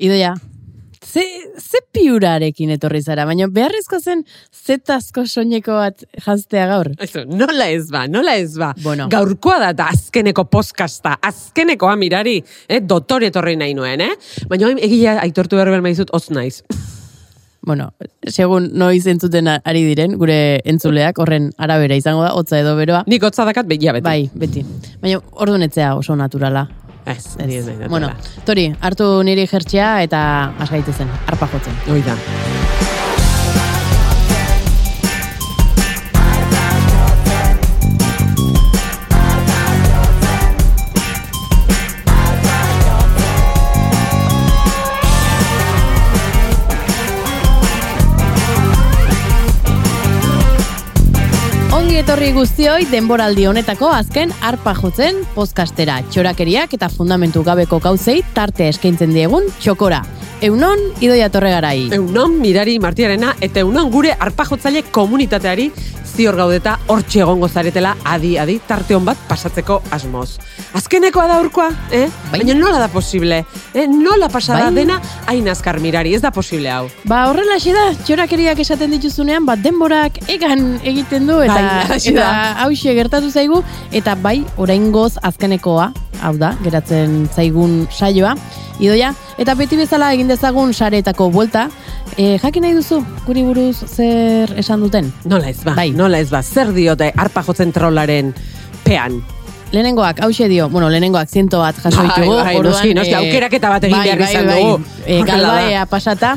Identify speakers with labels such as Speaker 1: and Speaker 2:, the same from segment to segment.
Speaker 1: Idoia, ze, ze piurarekin etorri zara, baina beharrezko zen zetazko soineko bat jaztea gaur.
Speaker 2: Aizu, nola ez ba, nola ez ba.
Speaker 1: Bueno.
Speaker 2: Gaurkoa da eta azkeneko podcasta, azkeneko mirari, eh, dotore etorri nahi nuen, eh? Baina oin egia aitortu behar behar maizut, oz naiz.
Speaker 1: Bueno, segun noiz entzuten ari diren, gure entzuleak horren arabera izango da, hotza edo beroa.
Speaker 2: Nik hotza dakat behia beti.
Speaker 1: Bai, beti. Baina orduan etzea oso naturala.
Speaker 2: Ez, niri ez nahi dut.
Speaker 1: Bueno, Tori, hartu niri jertxea eta asgaite zen, arpa jotzen.
Speaker 2: Hoi da.
Speaker 1: Ongi etorri guztioi denboraldi honetako azken arpa jotzen podcastera, txorakeriak eta fundamentu gabeko gauzei tarte eskaintzen diegun txokora. Eunon, idoia torregarai.
Speaker 2: Eunon mirari martiarena eta eunon gure arpajotzaile komunitateari zior gaudeta hortxe egongo zaretela adi-adi tarte on bat pasatzeko asmoz. Azkenekoa da urkoa, eh?
Speaker 1: Bai.
Speaker 2: Baina nola da posible? Eh? Nola pasada
Speaker 1: Bai.
Speaker 2: dena hain azkar mirari, ez da posible hau.
Speaker 1: Ba, horrela da, txorakeriak esaten dituzunean, ba, denborak egan egiten du, eta,
Speaker 2: Bai, halaxe
Speaker 1: eta
Speaker 2: da.
Speaker 1: hause gertatu zaigu, eta bai, orain goz azkenekoa, hau da, geratzen zaigun saioa, idoia, eta beti bezala egin dezagun sareetako buelta, e, jakin nahi duzu, guri buruz zer esan duten?
Speaker 2: Nola ez ba,
Speaker 1: Bai.
Speaker 2: nola ez ba, zer diote arpa jotzen trolaren pean.
Speaker 1: Lehenengoak, hause dio, bueno, lehenengoak ziento bat jaso
Speaker 2: Bai,
Speaker 1: ditugu. eh,
Speaker 2: bai, noski, noski, aukeraketa bat
Speaker 1: bai,
Speaker 2: egin behar izan dugu.
Speaker 1: E,
Speaker 2: Horrela da.
Speaker 1: galbaea pasata,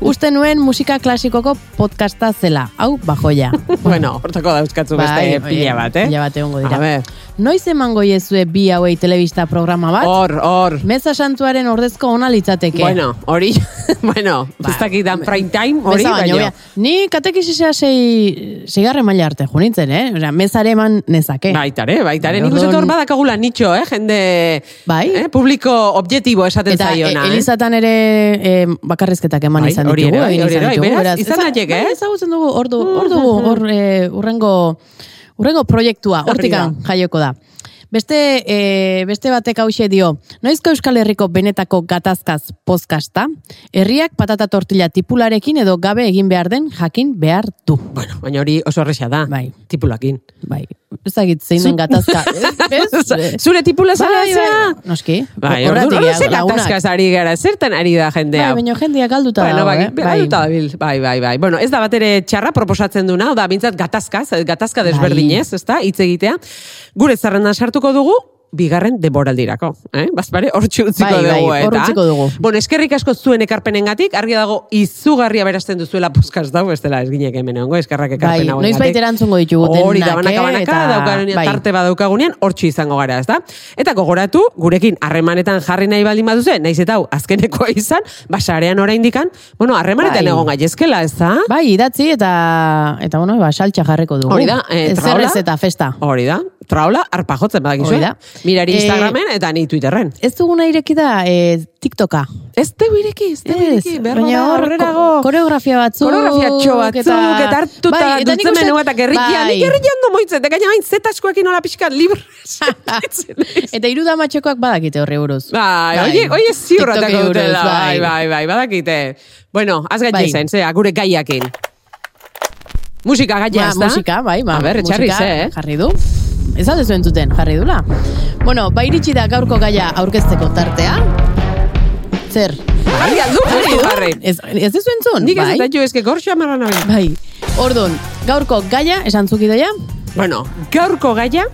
Speaker 1: uste nuen musika klasikoko podcasta zela, hau bajoia.
Speaker 2: bueno, hortako dauzkatzu beste
Speaker 1: Bai,
Speaker 2: pila
Speaker 1: oi,
Speaker 2: bat, eh?
Speaker 1: Pila bat egongo
Speaker 2: A
Speaker 1: dira.
Speaker 2: ber,
Speaker 1: Noiz emango jezue bi hauei telebista programa bat?
Speaker 2: hor, hor.
Speaker 1: Meza santuaren ordezko ona litzateke.
Speaker 2: Oh. Bueno, hori, bueno,
Speaker 1: Ba,
Speaker 2: ez dakit dan prime time, hori,
Speaker 1: Meza baino,
Speaker 2: baina.
Speaker 1: bea. Ni katekisisea sei, seigarren maila arte junitzen, eh? Osea, mezare eman
Speaker 2: Bai,
Speaker 1: nezake.
Speaker 2: Baitare, baitare.
Speaker 1: eh.
Speaker 2: Nik
Speaker 1: Orduan-
Speaker 2: uste dut hor badakagula nitxo, eh? Jende
Speaker 1: Bai.
Speaker 2: eh? publiko objektibo esaten
Speaker 1: Eta e,
Speaker 2: zaiona. eh?
Speaker 1: Elizatan ere e, bakarrizketak eman
Speaker 2: Bai,
Speaker 1: izan
Speaker 2: hori
Speaker 1: ditugu.
Speaker 2: ere bai,
Speaker 1: egin
Speaker 2: hori
Speaker 1: izan
Speaker 2: ere bai,
Speaker 1: ditugu,
Speaker 2: beraz,
Speaker 1: beraz,
Speaker 2: izan
Speaker 1: eza-
Speaker 2: daiteke,
Speaker 1: bai,
Speaker 2: eh?
Speaker 1: Ezagutzen dugu, hor du, hor dugu, hor e, urrengo, urrengo proiektua,
Speaker 2: Hori
Speaker 1: hortikan
Speaker 2: da.
Speaker 1: jaioko da. Beste, e, beste batek hause dio, noizko Euskal Herriko benetako gatazkaz pozkasta, herriak patata tortilla tipularekin edo gabe egin behar den jakin behar du.
Speaker 2: Bueno, baina hori oso horreza da,
Speaker 1: Bai.
Speaker 2: tipulakin.
Speaker 1: Bai, ez dakit zein den gatazka. Ez, ez?
Speaker 2: Zure tipula zara
Speaker 1: Bai,
Speaker 2: zea?
Speaker 1: bai, noski.
Speaker 2: Bai,
Speaker 1: Horregatik
Speaker 2: orduan,
Speaker 1: ja,
Speaker 2: horrezen
Speaker 1: lagunak.
Speaker 2: gatazkaz ari gara, zertan ari da jendea.
Speaker 1: Bai, baina jendeak galduta
Speaker 2: Bueno,
Speaker 1: dago,
Speaker 2: bai,
Speaker 1: eh?
Speaker 2: bai, bai, bai, bai, bai. Bueno, ez da bat ere txarra proposatzen duna, da bintzat gatazkaz, eh, gatazka
Speaker 1: Bai.
Speaker 2: desberdinez, ezta, hitz egitea. Gure zerrendan sartuko dugu, bigarren deboraldirako, eh? Bazpare, hortxe utziko
Speaker 1: Bai, bai,
Speaker 2: dugu,
Speaker 1: hor
Speaker 2: eta.
Speaker 1: utziko dugu.
Speaker 2: Bueno, eskerrik asko zuen ekarpenengatik, argi dago izugarria berasten duzuela podcast dau, bestela ez ginek hemen ongo,
Speaker 1: Bai,
Speaker 2: eskerrak ekarpen hau.
Speaker 1: noiz bait erantzungo ditugu
Speaker 2: Hori da,
Speaker 1: denak,
Speaker 2: banaka,
Speaker 1: eh,
Speaker 2: banaka,
Speaker 1: eta-
Speaker 2: daukagunean,
Speaker 1: bai.
Speaker 2: tarte badaukagunean, hortxe izango gara, ezta? Eta gogoratu, gurekin harremanetan jarri nahi baldin baduze, naiz eta hau azkenekoa izan, basarean oraindikan, bueno, harremanetan
Speaker 1: Bai.
Speaker 2: egon gaitezkela, ezta?
Speaker 1: Bai, idatzi eta eta bueno, ba saltza jarreko dugu.
Speaker 2: Hori da, eh,
Speaker 1: Ez
Speaker 2: traola.
Speaker 1: errez eta festa.
Speaker 2: Hori da, traula, arpajotzen badakizu.
Speaker 1: Hori da.
Speaker 2: Mirari
Speaker 1: Eh,
Speaker 2: Instagramen eta ni Twitterren.
Speaker 1: Ez duguna ireki da eh, TikToka.
Speaker 2: Ez teu ireki, ez teu
Speaker 1: Ez,
Speaker 2: ireki, berba da, aurrerago.
Speaker 1: ko- koreografia batzuk.
Speaker 2: Koreografiatxo batzuk, eta hartuta bai,
Speaker 1: nik uste-
Speaker 2: dutzen eta gerrikian,
Speaker 1: bai.
Speaker 2: nik gerrikian do moitzen, eta gaina hain zetaskoekin nola pixkat libre. sentitzen naiz.
Speaker 1: Eta iru damatxekoak badakite horri buruz.
Speaker 2: Bai, oie, oie ziurratako
Speaker 1: TikTokei buruz,
Speaker 2: dutela, bai, bai, bai, badakite. Bueno, az
Speaker 1: Bai.
Speaker 2: gaitezen, bai. zea, gure gaiakin. Musika gaia,
Speaker 1: Ja,
Speaker 2: ez da?
Speaker 1: musika, bai, ba,
Speaker 2: A ber, etxarri
Speaker 1: musika
Speaker 2: ze, eh?
Speaker 1: Jarri du. Ez alde zuen zuten, jarri dula. Bueno, ba iritsi da gaurko gaia aurkezteko tartea. Zer?
Speaker 2: Jarri aldu, justu jarri.
Speaker 1: Ez, ez duzu entzun?
Speaker 2: Nik ez
Speaker 1: bai.
Speaker 2: eta jo, eske gorxo amarra nabil.
Speaker 1: Bai. Orduan, gaurko gaia, esan zuk idoia?
Speaker 2: Bueno, gaurko gaia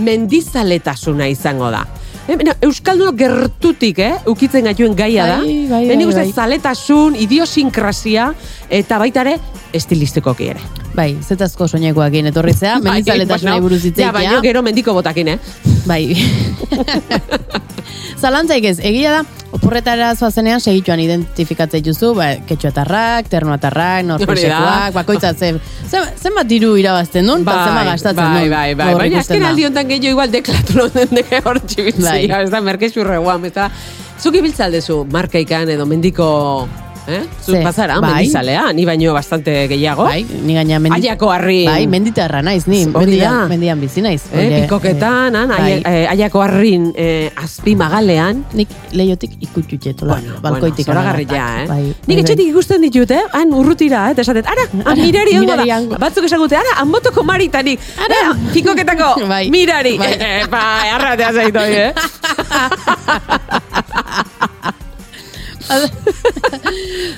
Speaker 2: mendizaletasuna izango da. Eh, baina Euskaldunok gertutik, eh, ukitzen gaituen gaia da.
Speaker 1: Bai, bai,
Speaker 2: Baina nik
Speaker 1: bai,
Speaker 2: uste
Speaker 1: bai.
Speaker 2: zaletasun, idiosinkrasia eta baita ere estilistikoki ere.
Speaker 1: Bai, zetazko soinekoakin etorritzea, mendizaletasunai
Speaker 2: Bai, bueno,
Speaker 1: buruz
Speaker 2: Ja, baina
Speaker 1: hitzeitea.
Speaker 2: gero mendiko botakin, eh?
Speaker 1: Bai. Zalantzaik ez, egia da, oporretara zoazenean segituan identifikatzei juzu, ba, ketxoatarrak, ternoatarrak, norpexekoak, bakoitza zen, zen, zenbat diru irabazten duen, eta zenbat ba gastatzen
Speaker 2: bai,
Speaker 1: duen.
Speaker 2: bai, bai,
Speaker 1: Hor
Speaker 2: baina
Speaker 1: ikusten
Speaker 2: azken
Speaker 1: da.
Speaker 2: aldi honetan gehiago igual deklatu londen deke hor txibitzia,
Speaker 1: Bai.
Speaker 2: ez da, merkezurre guam, ez da, zuki biltzaldezu, markaikan edo mendiko Eh? Zut
Speaker 1: Ze,
Speaker 2: bazara,
Speaker 1: bai.
Speaker 2: mendizalea, ni baino bastante gehiago.
Speaker 1: Bai, ni gaina mendi...
Speaker 2: Aiako harri.
Speaker 1: Bai, menditarra naiz, ni
Speaker 2: Hori da.
Speaker 1: mendian, mendian bizi naiz.
Speaker 2: Eh,
Speaker 1: Nire,
Speaker 2: pikoketan, han,
Speaker 1: eh, bai,
Speaker 2: aia- eh, aiako harrin eh, azpi magalean.
Speaker 1: Nik leiotik ikututetola, bueno, Ba, bai, balkoitik.
Speaker 2: Bai, bueno, zoragarria,
Speaker 1: arabatak,
Speaker 2: eh?
Speaker 1: Bai, bai,
Speaker 2: Nik etxetik ikusten ditut, eh? Han urrutira, eh? Eta esaten, ara, han mirari ongo
Speaker 1: mirari
Speaker 2: da.
Speaker 1: hango.
Speaker 2: Batzuk esagute, ara, anbotoko maritanik. Ara, kikoketako,
Speaker 1: Bai.
Speaker 2: mirari. Eh,
Speaker 1: Bai.
Speaker 2: Epa, arratea zaitu, eh?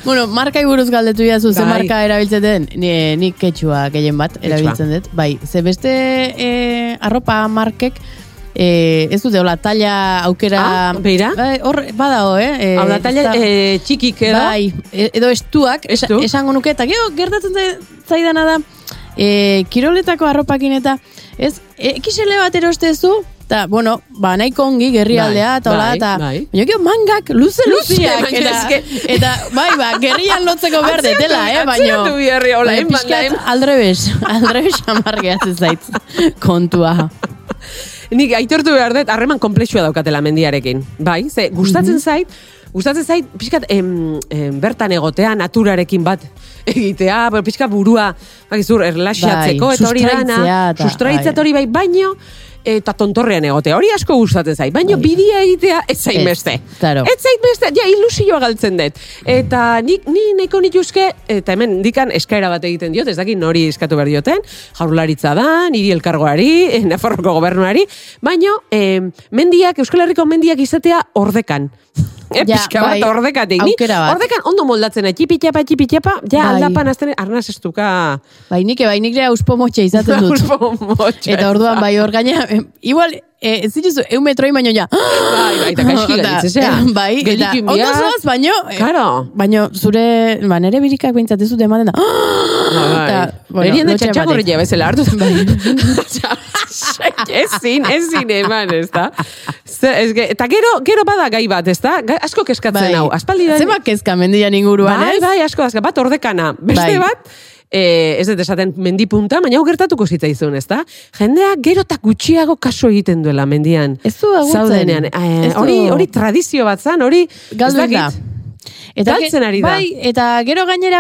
Speaker 1: bueno, markai buruz galdetu jazu, ze
Speaker 2: Bai.
Speaker 1: marka erabiltzen den, ni, nik ketxua gehien bat erabiltzen dut. Bai, ze beste eh, arropa markek, eh, ez dute, hola, talla aukera...
Speaker 2: Ah, begira.
Speaker 1: Bai, hor, badao, eh? eh,
Speaker 2: Hau da,
Speaker 1: ez
Speaker 2: taila
Speaker 1: da-
Speaker 2: eh, txikik edo.
Speaker 1: Bai, e- edo estuak, esa-
Speaker 2: Estu.
Speaker 1: esango nuke, eta gero gertatzen zai- zaidana da, e, kiroletako arropakin eta, ez, XL bat erostezu, eta, bueno, ba, nahiko ongi gerrialdea,
Speaker 2: Bai,
Speaker 1: eta hola,
Speaker 2: bai,
Speaker 1: eta,
Speaker 2: bai.
Speaker 1: baina gero mangak, luze
Speaker 2: Luze,
Speaker 1: luziak,
Speaker 2: baina
Speaker 1: eta,
Speaker 2: eske-
Speaker 1: eta, bai, ba, gerrian lotzeko behar
Speaker 2: Atzeratu-
Speaker 1: detela, eh,
Speaker 2: atzeratu
Speaker 1: baina,
Speaker 2: biherri, hola, eh,
Speaker 1: baina
Speaker 2: enban da,
Speaker 1: pixkat
Speaker 2: enban.
Speaker 1: aldrebes, aldrebes amargeatzen zaitz, kontua.
Speaker 2: Nik aitortu behar dut, harreman komplexua daukatela mendiarekin. Bai, ze, gustatzen
Speaker 1: Mhm.
Speaker 2: zait, gustatzen zait, pixkat, em, em, bertan egotea, naturarekin bat egitea, bo, pixkat burua, bakizur, erlaxiatzeko,
Speaker 1: Bai,
Speaker 2: eta hori
Speaker 1: sustraitzea
Speaker 2: dana,
Speaker 1: eta-
Speaker 2: sustraitzea
Speaker 1: bai.
Speaker 2: eta hori bai, baino, eta tontorrean egotea. Hori asko gustatzen zait, baino bidea egitea ez zait
Speaker 1: Bai. Ez,
Speaker 2: beste.
Speaker 1: claro.
Speaker 2: Ez zait beste, ja ilusioa galtzen dut. Eta nik ni nahiko nituzke, eta hemen dikan eskaera bat egiten diot, ez dakit nori eskatu behar dioten, jaurlaritza da, niri elkargoari, eh, Nafarroko gobernuari, baino eh, mendiak, Euskal Herriko mendiak izatea ordekan. Eh,
Speaker 1: Ja,
Speaker 2: pixka bat
Speaker 1: bai,
Speaker 2: ordekatik. Ni
Speaker 1: aukera bat.
Speaker 2: Ordekan ondo moldatzen, txipitxapa, txipitxapa, ja
Speaker 1: Bai.
Speaker 2: aldapan azten arnaz estuka.
Speaker 1: Bainik, bainik ere bai, auspo motxe izaten dut. Eta orduan bai hor gaina, em, igual, eh, ez dituzu, eun metroi baino ja.
Speaker 2: Bai, bai, eta gaizki
Speaker 1: Eta,
Speaker 2: gaitz, ezea.
Speaker 1: eh, Bai, eta
Speaker 2: Gelditu
Speaker 1: ondo
Speaker 2: inbiak.
Speaker 1: zoaz, baino, eh,
Speaker 2: Claro.
Speaker 1: baino zure, ba, nere birikak behintzat ez dute ematen da.
Speaker 2: Ba, Bai. Neri handa
Speaker 1: lotxea
Speaker 2: txatxakurri
Speaker 1: batek.
Speaker 2: bezala hartu. bai. ezin, ezin eman, ez da? Ze- ez ge- Eta gero, gero bada gai bat, ez da? Gai- Asko
Speaker 1: Bai.
Speaker 2: keskatzen hau. Aspaldi da.
Speaker 1: Zenbat kezka mendian inguruan,
Speaker 2: Bai,
Speaker 1: ez?
Speaker 2: bai, asko, asko. Bat ordekana. Beste
Speaker 1: Bai.
Speaker 2: bat, eh, ez dut esaten mendipunta, baina hau gertatuko zitzaizun, ez da? Jendea gero eta gutxiago kaso egiten duela mendian.
Speaker 1: Ez du agurtzen.
Speaker 2: Zaudenean. Eh,
Speaker 1: Ez du-
Speaker 2: hori, hori tradizio bat zan, hori... ez
Speaker 1: Galdu egin da.
Speaker 2: dakit. Galtzen
Speaker 1: ge-
Speaker 2: ari da.
Speaker 1: Bai, eta gero gainera,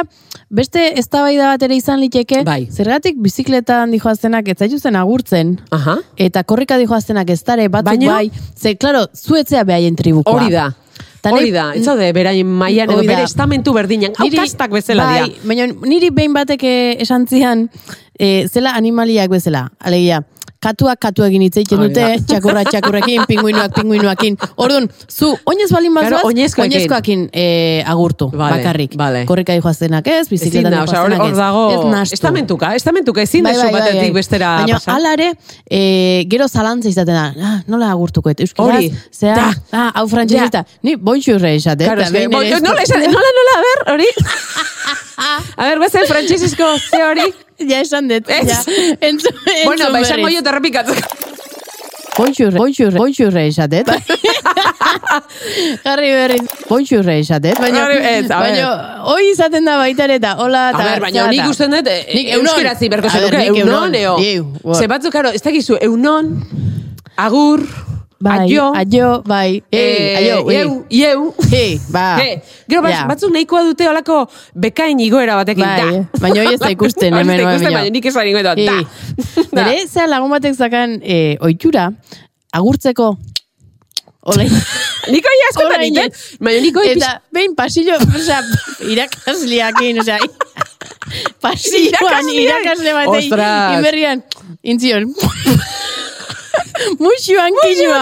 Speaker 1: beste eztabaida bat ere izan liteke,
Speaker 2: Bai.
Speaker 1: zergatik bizikletan dijoaztenak ez zaituzten agurtzen.
Speaker 2: Aha.
Speaker 1: Eta korrika dijoaztenak ez dare, batzuk
Speaker 2: Baino-
Speaker 1: bai, ze, klaro, zuetzea behaien tribukoa.
Speaker 2: Hori da.
Speaker 1: Ta
Speaker 2: Ba. hori
Speaker 1: nahi-
Speaker 2: da, ez zaude, beraien mailan edo
Speaker 1: Hori da.
Speaker 2: bere estamentu berdinan, hau
Speaker 1: Niri-
Speaker 2: kastak bezala
Speaker 1: bai,
Speaker 2: dira.
Speaker 1: Baina niri behin batek eh, esan zian, eh, zela animaliak bezala, alegia, katuak katuekin hitz egiten
Speaker 2: Hori
Speaker 1: dute,
Speaker 2: da.
Speaker 1: txakurra txakurrekin, pinguinuak pinguinuakin. Orduan, zu oinez balin bazoaz,
Speaker 2: Claro, oinezkoekin.
Speaker 1: oinezkoakin, eh, agurtu,
Speaker 2: Vale,
Speaker 1: bakarrik.
Speaker 2: vale.
Speaker 1: Korrika dijoaztenak ez,
Speaker 2: Ezin
Speaker 1: bizikletan
Speaker 2: da, osea, hor,
Speaker 1: dijoaztenak
Speaker 2: hor
Speaker 1: ez.
Speaker 2: dago,
Speaker 1: ez nahastu.
Speaker 2: estamentuka, estamentuka ezin
Speaker 1: Bai,
Speaker 2: dezu
Speaker 1: bai, bai,
Speaker 2: batetik
Speaker 1: bai.
Speaker 2: bestera
Speaker 1: Baina,
Speaker 2: pasa.
Speaker 1: hala ere, e, gero zalantza izaten da, ah, nola agurtuko, eta euskaraz,
Speaker 2: Hori,
Speaker 1: zea,
Speaker 2: da.
Speaker 1: ah, hau frantxez
Speaker 2: Ja.
Speaker 1: eta, ni bontxurre esate.
Speaker 2: Claro,
Speaker 1: eta
Speaker 2: es que,
Speaker 1: behin
Speaker 2: bo,
Speaker 1: ere ez-
Speaker 2: nola, esan, nola, nola, a ber, hori? a ber, bezen, frantxesizko, ze hori?
Speaker 1: Ja esan dut.
Speaker 2: Ez.
Speaker 1: Ja. Entzun, entzun
Speaker 2: bueno, ba, esango
Speaker 1: berriz.
Speaker 2: jo terrepikatzeko.
Speaker 1: Bonxurre, bonxurre, bonxurre esatet. Jarri berriz, bonxurre esatet. Baina,
Speaker 2: Hori, ez, a ber.
Speaker 1: baina, hoi izaten da baita ere eta, hola,
Speaker 2: A
Speaker 1: eta...
Speaker 2: ber, baina nik usten dut, e,
Speaker 1: Nik
Speaker 2: e,
Speaker 1: eunon.
Speaker 2: euskaraz iberko
Speaker 1: A ber,
Speaker 2: zenuke,
Speaker 1: nik eunon,
Speaker 2: eunon, eo.
Speaker 1: iu, bo.
Speaker 2: Ze batzuk, karo, ez dakizu, eunon, agur,
Speaker 1: Bai,
Speaker 2: aio,
Speaker 1: aio, bai,
Speaker 2: eh,
Speaker 1: eh, aio, eh.
Speaker 2: ieu, ieu.
Speaker 1: Hey, ba.
Speaker 2: He, gero bat,
Speaker 1: Ja.
Speaker 2: batzuk nahikoa dute olako bekain igoera batekin,
Speaker 1: Bai, eh.
Speaker 2: da.
Speaker 1: Baina hori ez da ikusten,
Speaker 2: Hori ez da
Speaker 1: hemen,
Speaker 2: ikusten,
Speaker 1: baina.
Speaker 2: baina nik esan ingo da,
Speaker 1: Eh,
Speaker 2: da. da.
Speaker 1: Nere, zea lagun batek zakan eh, oitura, agurtzeko, Olain.
Speaker 2: Nik hori askotan
Speaker 1: Orain
Speaker 2: egiten,
Speaker 1: ez.
Speaker 2: baina nik hori
Speaker 1: Eta behin pasillo, osea, irakasleakin, osea, pasilloan
Speaker 2: Irakasleak.
Speaker 1: irakasle batei
Speaker 2: Ostras.
Speaker 1: inberrian, intzion. Muxuan kinua.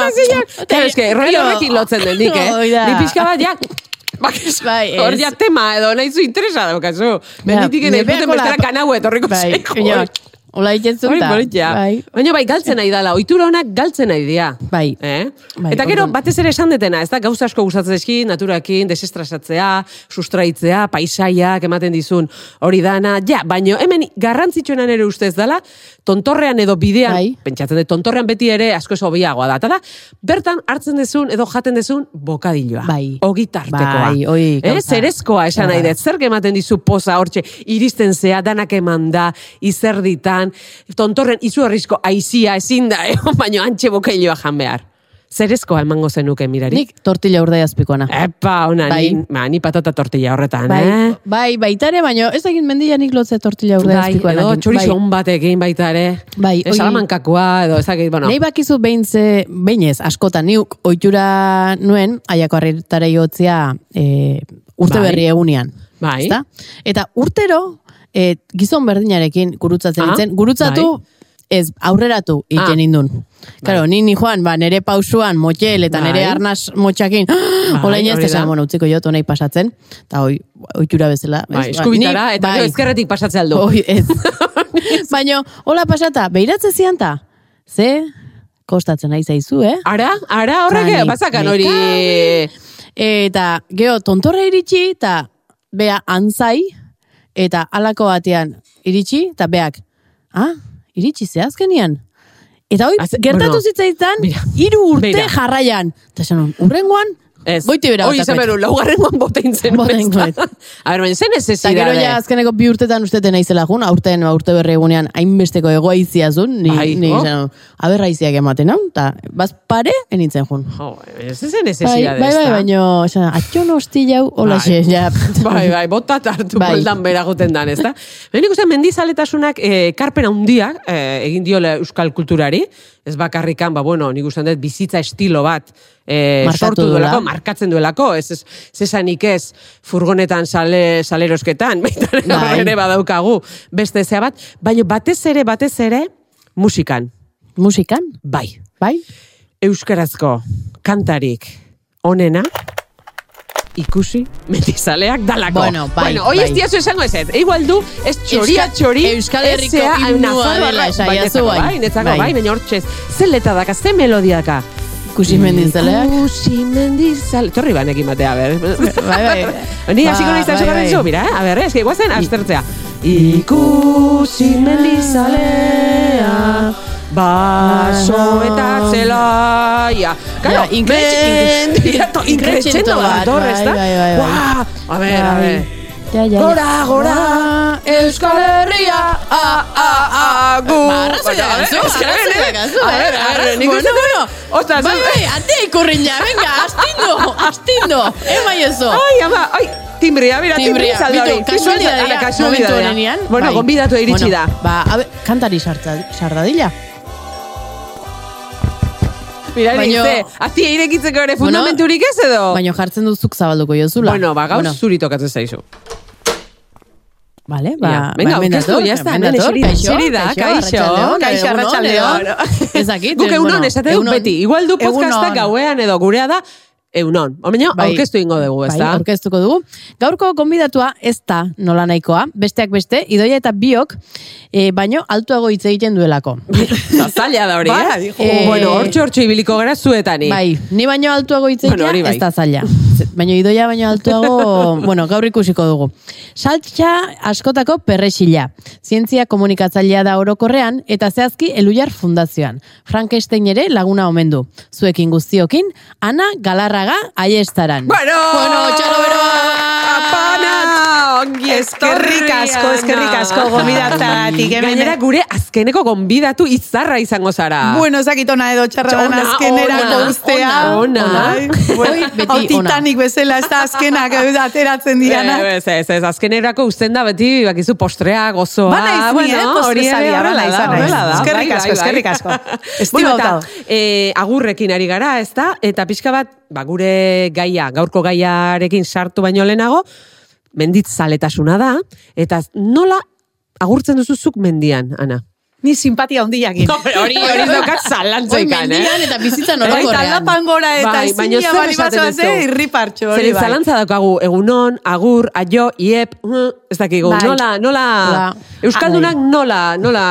Speaker 2: Claro, es que rollo horrekin lotzen den nik, eh?
Speaker 1: Hoi da.
Speaker 2: Ni pixka bat, ja, Bakes,
Speaker 1: Bai, ez.
Speaker 2: hor ja tema edo nahi zu interesa daukazu.
Speaker 1: Ah,
Speaker 2: Benitik ene,
Speaker 1: nebeako
Speaker 2: puten bestera
Speaker 1: lapa-
Speaker 2: kanau etorriko
Speaker 1: Bai,
Speaker 2: zaigu.
Speaker 1: baina, Ola itetzen
Speaker 2: Hori
Speaker 1: da.
Speaker 2: politia.
Speaker 1: Bai.
Speaker 2: Baina bai, galtzen nahi dala, ohitura honak galtzen nahi dira.
Speaker 1: Bai.
Speaker 2: Eh?
Speaker 1: Bai,
Speaker 2: Eta gero,
Speaker 1: orduan.
Speaker 2: batez ere esan detena, ez da, gauza asko gustatzen eski, naturakin, desestrasatzea, sustraitzea, paisaiak, ematen dizun, hori dana, ja, baino hemen garrantzitsuena ere ustez dala, tontorrean edo bidean,
Speaker 1: Bai.
Speaker 2: pentsatzen dut, tontorrean beti ere asko sobiagoa da, eta da, bertan hartzen dezun edo jaten dezun bokadiloa.
Speaker 1: Bai.
Speaker 2: Ogi tartekoa.
Speaker 1: Bai, hoi,
Speaker 2: eh?
Speaker 1: gauza.
Speaker 2: Zerezkoa esan nahi
Speaker 1: Bai.
Speaker 2: dut, zer ematen dizu poza hortxe, iristen zea, danak eman da, izerditan, tontorren izuarrizko aizia ezin da, eh? baino antxe bokailua jan behar. Zerezkoa emango zenuke mirari?
Speaker 1: Nik tortilla urdai azpikoana.
Speaker 2: Ah. Epa, ona,
Speaker 1: Bai.
Speaker 2: ni, ba, ni patata tortilla horretan,
Speaker 1: Bai,
Speaker 2: eh?
Speaker 1: bai, baitare, baino ez egin mendia nik lotze tortilla urdai
Speaker 2: Bai,
Speaker 1: azpikoana.
Speaker 2: edo chorizo on batekin baita ere.
Speaker 1: Bai,
Speaker 2: Eh,
Speaker 1: hori-
Speaker 2: Salamankakoa, edo ez dakit, bueno.
Speaker 1: Nei bakizu behin ze, behin ez, askotan niuk ohitura nuen, aiako harritara jotzia e, urte
Speaker 2: Bai.
Speaker 1: berri egunean.
Speaker 2: Bai.
Speaker 1: Ezta? Eta urtero, e, gizon berdinarekin gurutzatzen
Speaker 2: Ah,
Speaker 1: nintzen, gurutzatu, ez, aurreratu
Speaker 2: Ah.
Speaker 1: egiten indun. Karo, ni ni joan, ba, nere pausuan, motxel, eta nere
Speaker 2: Bai.
Speaker 1: arnaz motxakin, olain ez,
Speaker 2: hori da.
Speaker 1: esan, bueno, utziko jo, nahi pasatzen, eta hoi, ohitura bezala. ez,
Speaker 2: Bai,
Speaker 1: ba,
Speaker 2: eskubitara,
Speaker 1: ni-
Speaker 2: eta
Speaker 1: bai.
Speaker 2: gero ezkerretik pasatzea aldu.
Speaker 1: Oi, ez. Baina, hola pasata, behiratze zianta. Ze, kostatzen nahi zaizu, eh?
Speaker 2: Ara, ara, horrek,
Speaker 1: Kani,
Speaker 2: bazakan hori...
Speaker 1: bai. Eta, geho, tontorra iritsi, eta bea antzai, eta halako batean iritsi, eta beak, ah, iritsi ze azkenian. Eta hoi,
Speaker 2: Az-
Speaker 1: gertatu
Speaker 2: bueno,
Speaker 1: zitzaitan,
Speaker 2: mira,
Speaker 1: hiru urte
Speaker 2: beira.
Speaker 1: jarraian. Eta esan, nun, urrengoan,
Speaker 2: Ez.
Speaker 1: goiti bera
Speaker 2: Hoi, izan
Speaker 1: botakoet.
Speaker 2: beru, laugarrengoan botein zen.
Speaker 1: Bota
Speaker 2: ez da?
Speaker 1: ingoet.
Speaker 2: A ber, baina zen ez
Speaker 1: Eta gero ja azkeneko bi urtetan usteten naizela jun, aurten ba, urte berri egunean hainbesteko egoa iziazun, ni,
Speaker 2: Bai,
Speaker 1: ni
Speaker 2: jo.
Speaker 1: izan, aberra iziak ematen hau, eta baz pare enitzen jun.
Speaker 2: Jo, ez zen ez
Speaker 1: Bai,
Speaker 2: ezidade,
Speaker 1: bai, bai,
Speaker 2: ezta?
Speaker 1: baino, esan, atxon hosti jau, hola
Speaker 2: Bai.
Speaker 1: xe, ja.
Speaker 2: Bai, bai, bota eta hartu
Speaker 1: Bai.
Speaker 2: poldan bera goten dan, ez da? Baina nik uste mendizaletasunak eh, karpen handiak eh, egin diola euskal kulturari, ez bakarrikan, ba, bueno, nik uste dut bizitza estilo bat eh,
Speaker 1: Markatu
Speaker 2: sortu
Speaker 1: duela.
Speaker 2: duelako, markatzen duelako, ez, ez, zesanik ez furgonetan sale, salerosketan, baita ere
Speaker 1: Bai.
Speaker 2: hor ere badaukagu, beste zea bat, baina batez ere, batez ere, musikan,
Speaker 1: Musikan,
Speaker 2: bai,
Speaker 1: bai?
Speaker 2: euskarazko kantarik onena ikusi mendizaleak dalako.
Speaker 1: Bueno, bai,
Speaker 2: bueno hoi
Speaker 1: bai.
Speaker 2: ez diazu esango ez, igual du, ez txoria
Speaker 1: Euska-
Speaker 2: txori,
Speaker 1: Euskal
Speaker 2: ez
Speaker 1: Herriko
Speaker 2: zea,
Speaker 1: himnua
Speaker 2: Nafarroa,
Speaker 1: dela esan,
Speaker 2: bai,
Speaker 1: jazu,
Speaker 2: netzako,
Speaker 1: bai.
Speaker 2: bai, netzako,
Speaker 1: Bai.
Speaker 2: bai, baina hortxe, ze letra daka, ze melodia daka.
Speaker 1: Ikusi
Speaker 2: Mm.
Speaker 1: mendizaleak.
Speaker 2: Ikusi mendizale. Torri banekin batea, ber.
Speaker 1: Bai, bai.
Speaker 2: Ni hasiko
Speaker 1: Ba,
Speaker 2: naiz
Speaker 1: bai,
Speaker 2: esakarren
Speaker 1: bai.
Speaker 2: zu, mira, eh? A ber, eske guazen aztertzea. Ikusi mendizalea, baso eta zelaia. Claro,
Speaker 1: Ja, ingres-
Speaker 2: mendirato-
Speaker 1: ingrescento
Speaker 2: ingrescento
Speaker 1: bat,
Speaker 2: dator,
Speaker 1: bai,
Speaker 2: ez da?
Speaker 1: bai, bai, bai.
Speaker 2: Guau, A ber, a
Speaker 1: Bai.
Speaker 2: ber.
Speaker 1: Ja, ja, ja.
Speaker 2: Gora, gora, Euskal Herria, a, a, a, gu.
Speaker 1: Ba, arrazoia
Speaker 2: Baina, a ber,
Speaker 1: daukazu,
Speaker 2: es que, a ber,
Speaker 1: arrazoia
Speaker 2: eh?
Speaker 1: daukazu,
Speaker 2: A
Speaker 1: eh?
Speaker 2: ber, a ber,
Speaker 1: Arra-
Speaker 2: nik uste
Speaker 1: bueno, bueno.
Speaker 2: dut- Ostras,
Speaker 1: Bai,
Speaker 2: eh?
Speaker 1: bai, ate ikurriña, venga, astindo, astindo, ema jozo.
Speaker 2: Ai, ama, ai, timbria, bira,
Speaker 1: Timbrea,
Speaker 2: timbria, zaldari.
Speaker 1: bitu, kasualidadea, momentu honenean.
Speaker 2: Bueno,
Speaker 1: bai.
Speaker 2: gonbidatu iritsi
Speaker 1: Bueno,
Speaker 2: da.
Speaker 1: Ba, a ber, kantari sartza- sardadila.
Speaker 2: Mira,
Speaker 1: baino-
Speaker 2: baino, ze, azti irekitzeko ere fundamenturik ez edo?
Speaker 1: Baina jartzen duzuk zabalduko jozula.
Speaker 2: Oh. bueno, ba, gaur zuri tokatzen zaizu.
Speaker 1: Vale, ba,
Speaker 2: Ja, venga,
Speaker 1: ba, hemen
Speaker 2: aurkeztu,
Speaker 1: dator,
Speaker 2: ya está,
Speaker 1: hemen
Speaker 2: hemen
Speaker 1: dator,
Speaker 2: eseri- eseri da, kaixo,
Speaker 1: arratsaldeon,
Speaker 2: kaixo,
Speaker 1: egunon,
Speaker 2: arratsaldeon.
Speaker 1: egunon. Ez dakit.
Speaker 2: Guk
Speaker 1: eh,
Speaker 2: eunon
Speaker 1: bueno,
Speaker 2: esate dut
Speaker 1: egunon.
Speaker 2: beti, igual du podcasta
Speaker 1: Egunon.
Speaker 2: gauean edo gurea da, eunon. Baina,
Speaker 1: Bai.
Speaker 2: aurkeztu ingo dugu, ez
Speaker 1: Bai,
Speaker 2: da?
Speaker 1: aurkeztuko dugu. Gaurko konbidatua ez da nola nahikoa, besteak beste, idoia eta biok, eh, baino altuago hitz egiten duelako.
Speaker 2: Zazaila da hori,
Speaker 1: Bai,
Speaker 2: eh?
Speaker 1: dijo. Eh,
Speaker 2: Bueno, hortxo, hortxo ibiliko gara eh. zuetani.
Speaker 1: Bai, ni baino altuago hitz egitea
Speaker 2: Bueno, hori bai.
Speaker 1: ez da zaila. Ze- Baino idoia baino altuago, bueno, gaur ikusiko dugu. Saltxa askotako perresila. Zientzia komunikatzailea da orokorrean eta zehazki Elujar Fundazioan. Frankenstein ere laguna omen du. Zuekin guztiokin, Ana Galarraga aiestaran.
Speaker 2: Bueno!
Speaker 1: bueno txalo beroa!
Speaker 2: Apana! Ongi
Speaker 3: Eskerrik asko, eskerrik asko gomidatagatik, hemen-
Speaker 2: Gainera gure azkeneko gonbidatu izarra izango zara.
Speaker 3: Bueno, ez dakit ona edo txarra den
Speaker 2: Ona,
Speaker 3: azkenerako
Speaker 2: ona,
Speaker 3: ustea.
Speaker 2: ona, ona.
Speaker 3: Ai, bueno,
Speaker 1: Hoi, beti
Speaker 3: Hau
Speaker 1: ona.
Speaker 3: Titanic bezala ez da azkenak eh, ateratzen diana.
Speaker 2: Eh, Ez, ez, ez, azkenerako uzten da beti, bakizu postrea, gozoa.
Speaker 3: Ba naiz ni, eh,
Speaker 2: hori ere
Speaker 3: postrezaria,
Speaker 2: horrela
Speaker 3: ba naiz,
Speaker 2: da,
Speaker 3: ba naiz.
Speaker 2: horrela da.
Speaker 3: Eskerrik
Speaker 2: bai,
Speaker 3: asko,
Speaker 2: bai, bai.
Speaker 3: eskerrik asko. Esti
Speaker 2: Bueno, eta,
Speaker 3: bautado.
Speaker 2: eh, agurrekin ari gara, ez da? Eta pixka bat, ba, gure gaia, gaurko gaiarekin sartu baino lehenago, menditzaletasuna da, eta nola agurtzen duzuzuk mendian, Ana?
Speaker 3: Ni simpatia hondiakin.
Speaker 2: Hori, hori daukat
Speaker 1: Oi,
Speaker 2: zalantzaikan, eh?
Speaker 1: mendian eta bizitzan
Speaker 2: Bai,
Speaker 3: Eta
Speaker 1: orokorrean.
Speaker 3: lapan gora eta
Speaker 2: Bai, baina
Speaker 3: ezina
Speaker 2: zer
Speaker 3: bali
Speaker 2: esaten
Speaker 3: bazoaz,
Speaker 2: duzu?
Speaker 3: eh, irripartxo hori
Speaker 2: Zeren
Speaker 3: bai.
Speaker 2: zalantza daukagu, egunon, agur, aio, iep, mm, ez dakigu,
Speaker 3: Bai.
Speaker 2: nola, nola,
Speaker 1: Ba.
Speaker 2: Euskaldunak nola, nola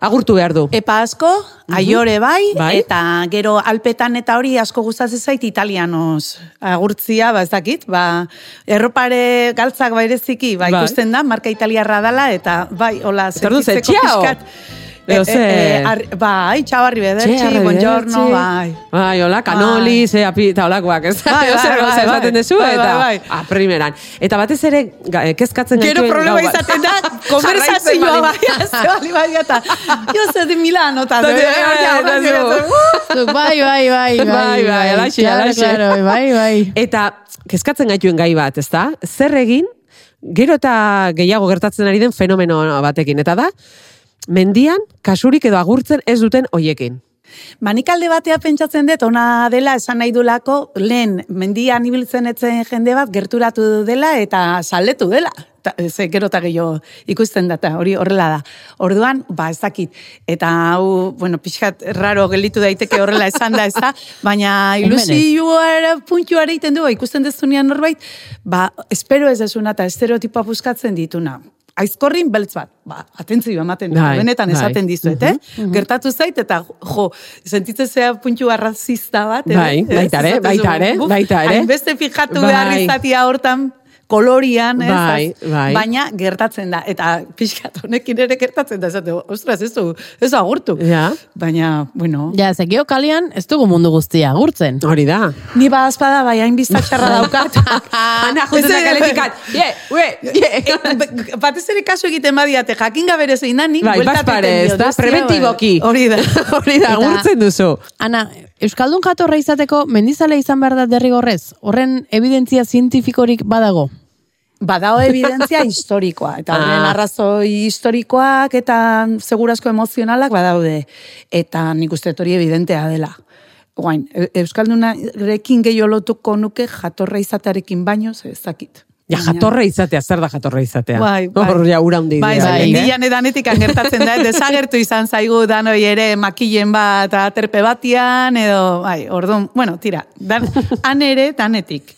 Speaker 2: agurtu behar du.
Speaker 3: Epa asko, aiore bai,
Speaker 2: Bai.
Speaker 3: eta gero alpetan eta hori asko gustatzen zait italianoz agurtzia, ba ez dakit, ba erropare galtzak baireziki, ba
Speaker 2: Bai.
Speaker 3: ikusten da, marka italiarra dala, eta bai, hola,
Speaker 2: Eta orduan ze,
Speaker 3: sentitzeko
Speaker 2: txiao! Edo ze-
Speaker 3: arri- bai,
Speaker 2: Txerri,
Speaker 3: txabarri bedertxi, buongiorno, bai.
Speaker 2: Bai, hola, kanoli, ze api, eta holakoak, ez?
Speaker 3: Bai,
Speaker 2: Bai,
Speaker 3: bai,
Speaker 2: bai,
Speaker 3: bai,
Speaker 2: bai, esaten
Speaker 3: bai.
Speaker 2: dezu,
Speaker 3: Bai,
Speaker 2: eta
Speaker 3: bai, bai.
Speaker 2: a primeran. Eta batez ere, ga- eh, kezkatzen
Speaker 3: Gero
Speaker 2: gaituen
Speaker 3: problema
Speaker 2: gau bat.
Speaker 3: izaten da,
Speaker 2: Jarraitzen
Speaker 3: konversazioa
Speaker 2: bali-
Speaker 3: bai, azte bali bai, eta jo ze de Milano, eta
Speaker 2: Eta
Speaker 3: de-
Speaker 2: de- eta zu.
Speaker 1: Zuk, bai, bai, bai, bai,
Speaker 2: Bai, bai, alaxe,
Speaker 1: Claro,
Speaker 2: alaxe.
Speaker 1: claro, bai, bai.
Speaker 2: Eta kezkatzen gaituen gai bat, ez da? Zer egin, gero eta gehiago gertatzen ari den fenomeno batekin. Eta da, mendian, kasurik edo agurtzen ez duten hoiekin.
Speaker 3: Manikalde batea pentsatzen dut, ona dela esan nahi dulako, lehen mendian ibiltzen etzen jende bat gerturatu dela eta saletu dela. Ta, ze gero eta gehiago ikusten data, hori horrela da. Orduan, ba, ez dakit. Eta hau, bueno, pixkat raro gelitu daiteke horrela esan da, ez da? Baina
Speaker 1: Hemen ez.
Speaker 3: ilusioara puntuara egiten du, ba, ikusten dezunean norbait, ba, espero ez desuna eta estereotipa buskatzen dituna. Aizkorrin beltz bat, ba, atentzio ematen da,
Speaker 2: Bai,
Speaker 3: benetan
Speaker 2: bai.
Speaker 3: esaten dizuet, eh? Gertatu zait, eta jo, sentitzen zea puntua arrazista bat, eh?
Speaker 2: Bai,
Speaker 3: Ez,
Speaker 2: baita ere,
Speaker 3: esaten
Speaker 2: baita
Speaker 3: dugu,
Speaker 2: ere,
Speaker 3: buf,
Speaker 2: baita ere.
Speaker 3: Hainbeste fijatu
Speaker 2: Bai.
Speaker 3: behar izatia hortan, kolorian, ez?
Speaker 2: Bai,
Speaker 3: Az-
Speaker 2: bai.
Speaker 3: Baina gertatzen da, eta pixkat honekin ere gertatzen da, esateu, ostras, ez du, ez du agurtu.
Speaker 2: Ja.
Speaker 3: Baina, bueno,
Speaker 1: Ja, ze geokalian ez dugu mundu guztia gurtzen.
Speaker 2: Hori da.
Speaker 3: ni badazpada, bai, hain biztatxarra daukat. Ah.
Speaker 2: Ana, juten da
Speaker 3: Ez-
Speaker 2: kaletikan. Ye, ue, ye.
Speaker 3: Ba- Batez ere kasu egiten badiate, jakin gabe ere zein da, nik
Speaker 2: Bai,
Speaker 3: bueltatu
Speaker 2: bazpare,
Speaker 3: egiten
Speaker 2: ez
Speaker 3: diot,
Speaker 2: da,
Speaker 3: ez
Speaker 2: preventiboki.
Speaker 3: Hori da.
Speaker 2: Hori da,
Speaker 1: Eta-
Speaker 2: gurtzen duzu.
Speaker 1: Ana, Euskaldun jatorra izateko mendizale izan behar da derrigorrez. Horren evidentzia zientifikorik badago.
Speaker 3: Badao evidentzia historikoa, eta horren
Speaker 2: Ah.
Speaker 3: arrazoi historikoak eta segurasko emozionalak badaude. Eta nik uste dut hori evidentea dela. Guain, e- Euskaldunarekin gehiago lotuko nuke jatorra izatearekin baino, ze ez dakit.
Speaker 2: Ja,
Speaker 3: Baina-
Speaker 2: jatorra izatea, zer da jatorra izatea?
Speaker 3: Bai, bai.
Speaker 2: Hor, ja, ura hundi
Speaker 3: Bai,
Speaker 2: dira,
Speaker 1: bai,
Speaker 3: bai,
Speaker 2: eh?
Speaker 3: indian edanetik gertatzen da, eh? desagertu izan zaigu danoi ere makilen bat, aterpe batian, edo, bai, orduan, bueno, tira, dan, han ere danetik.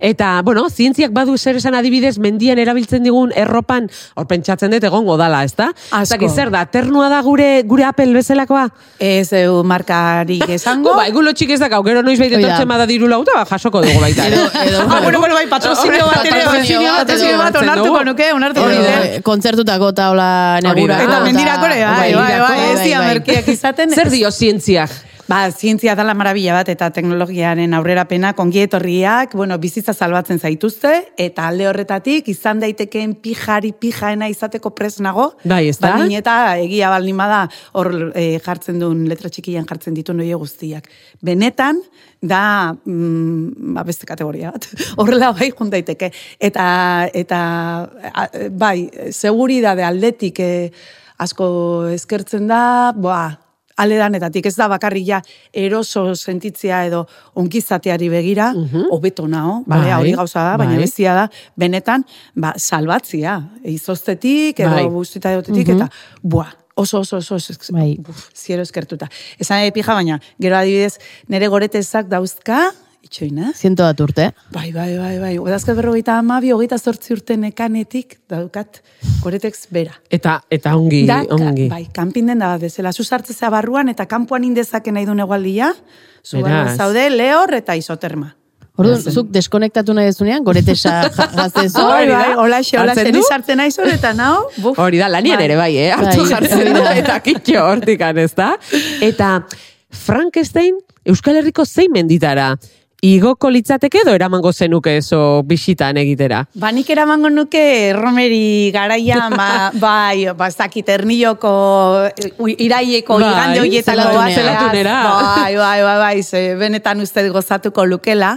Speaker 2: Eta, bueno, zientziak badu zer esan adibidez mendian erabiltzen digun erropan, hor pentsatzen dut egongo dala, ezta?
Speaker 3: Asko.
Speaker 2: Ez dakit zer da, ternua da gure gure Apple bezalakoa?
Speaker 3: Ez eu markarik esango.
Speaker 2: Go, ba, egulo txik ez da gau, gero noiz baita
Speaker 1: Hoi da.
Speaker 2: etortzen bada diru lauta, ba, jasoko dugu baita. eh? ere.
Speaker 1: edo-
Speaker 3: Ah, bueno, bueno, bai, patrozinio bat ere,
Speaker 1: Patrozinio
Speaker 3: patrozinio
Speaker 1: bat,
Speaker 3: bat, patrozinio bat,
Speaker 2: edo-
Speaker 3: onartuko nuke, onartuko
Speaker 2: Hori da.
Speaker 3: nuke.
Speaker 1: Eh, Kontzertutako eta hola negurako.
Speaker 2: Eta
Speaker 3: Eta mendirako ere, bai, bai, bai,
Speaker 1: mendirako,
Speaker 3: ez dira merkeak izaten.
Speaker 2: zer dio zientziak?
Speaker 3: Ba, zientzia dala marabila bat eta teknologiaren aurrerapena kongietorriak, bueno, bizitza salbatzen zaituzte, eta alde horretatik izan daitekeen pijari pijaena izateko prest nago.
Speaker 2: Bai, ez da?
Speaker 3: Baldin eta egia baldin bada hor eh, jartzen duen letra txikian jartzen ditu noie guztiak. Benetan, da mm, ba, beste kategoria bat. Horrela bai jun daiteke. Eta, eta a, bai, seguridade aldetik eh, asko eskertzen da, boa, aledanetatik, ez da bakarrik ja eroso sentitzea edo onkizateari begira, hobeto nao,
Speaker 2: Mhm. Bai,
Speaker 3: balea hori gauza da, baina
Speaker 2: bai.
Speaker 3: bestia da, benetan, ba, salbatzia, izostetik, edo
Speaker 2: Bai.
Speaker 3: bai. buztita egotetik, eta, buah, oso, oso, oso, oso ez-
Speaker 1: Bai.
Speaker 3: buf, ziero eskertuta. Esan ere pija, baina, gero adibidez, nere goretezak dauzka, itxoina,
Speaker 1: Ziento bat urte.
Speaker 3: Bai, bai, bai, bai. Odazka berrogeita amabi, hogeita zortzi urte nekanetik daukat goretex bera.
Speaker 2: Eta, eta ongi,
Speaker 3: Da, ka-
Speaker 2: ongi.
Speaker 3: bai, kanpin den da bat bezala. Zu sartzea barruan eta kanpoan indezake nahi duen egualdia. Zu
Speaker 2: Beraz.
Speaker 3: barruan zaude lehor eta isoterma.
Speaker 1: Orduan, zuk deskonektatu nahi dezunean, goretesa gaztezu.
Speaker 2: Hori
Speaker 3: Hori
Speaker 2: da.
Speaker 3: bai, olaxe, olaxe,
Speaker 2: Hartzen
Speaker 3: ni
Speaker 2: du?
Speaker 3: sartzen naiz hor eta nao. Buf.
Speaker 2: Hori da, lanian ere bai, eh? Hartu
Speaker 1: Bai.
Speaker 2: jartzen du eta kitxo hortikan, ez da? Eta Frankenstein Euskal Herriko zein menditara? Igoko litzateke edo eramango zenuke eso bisitan egitera?
Speaker 3: Ba, nik eramango nuke romeri garaian, ba, bai, ba, ez dakit, erniloko, ui, iraieko,
Speaker 2: Bai,
Speaker 3: igande horietako
Speaker 1: zelatunea.
Speaker 3: bat, beraz,
Speaker 2: Zelatunera.
Speaker 3: Bai, bai, bai, bai, ze benetan uste dut gozatuko lukela,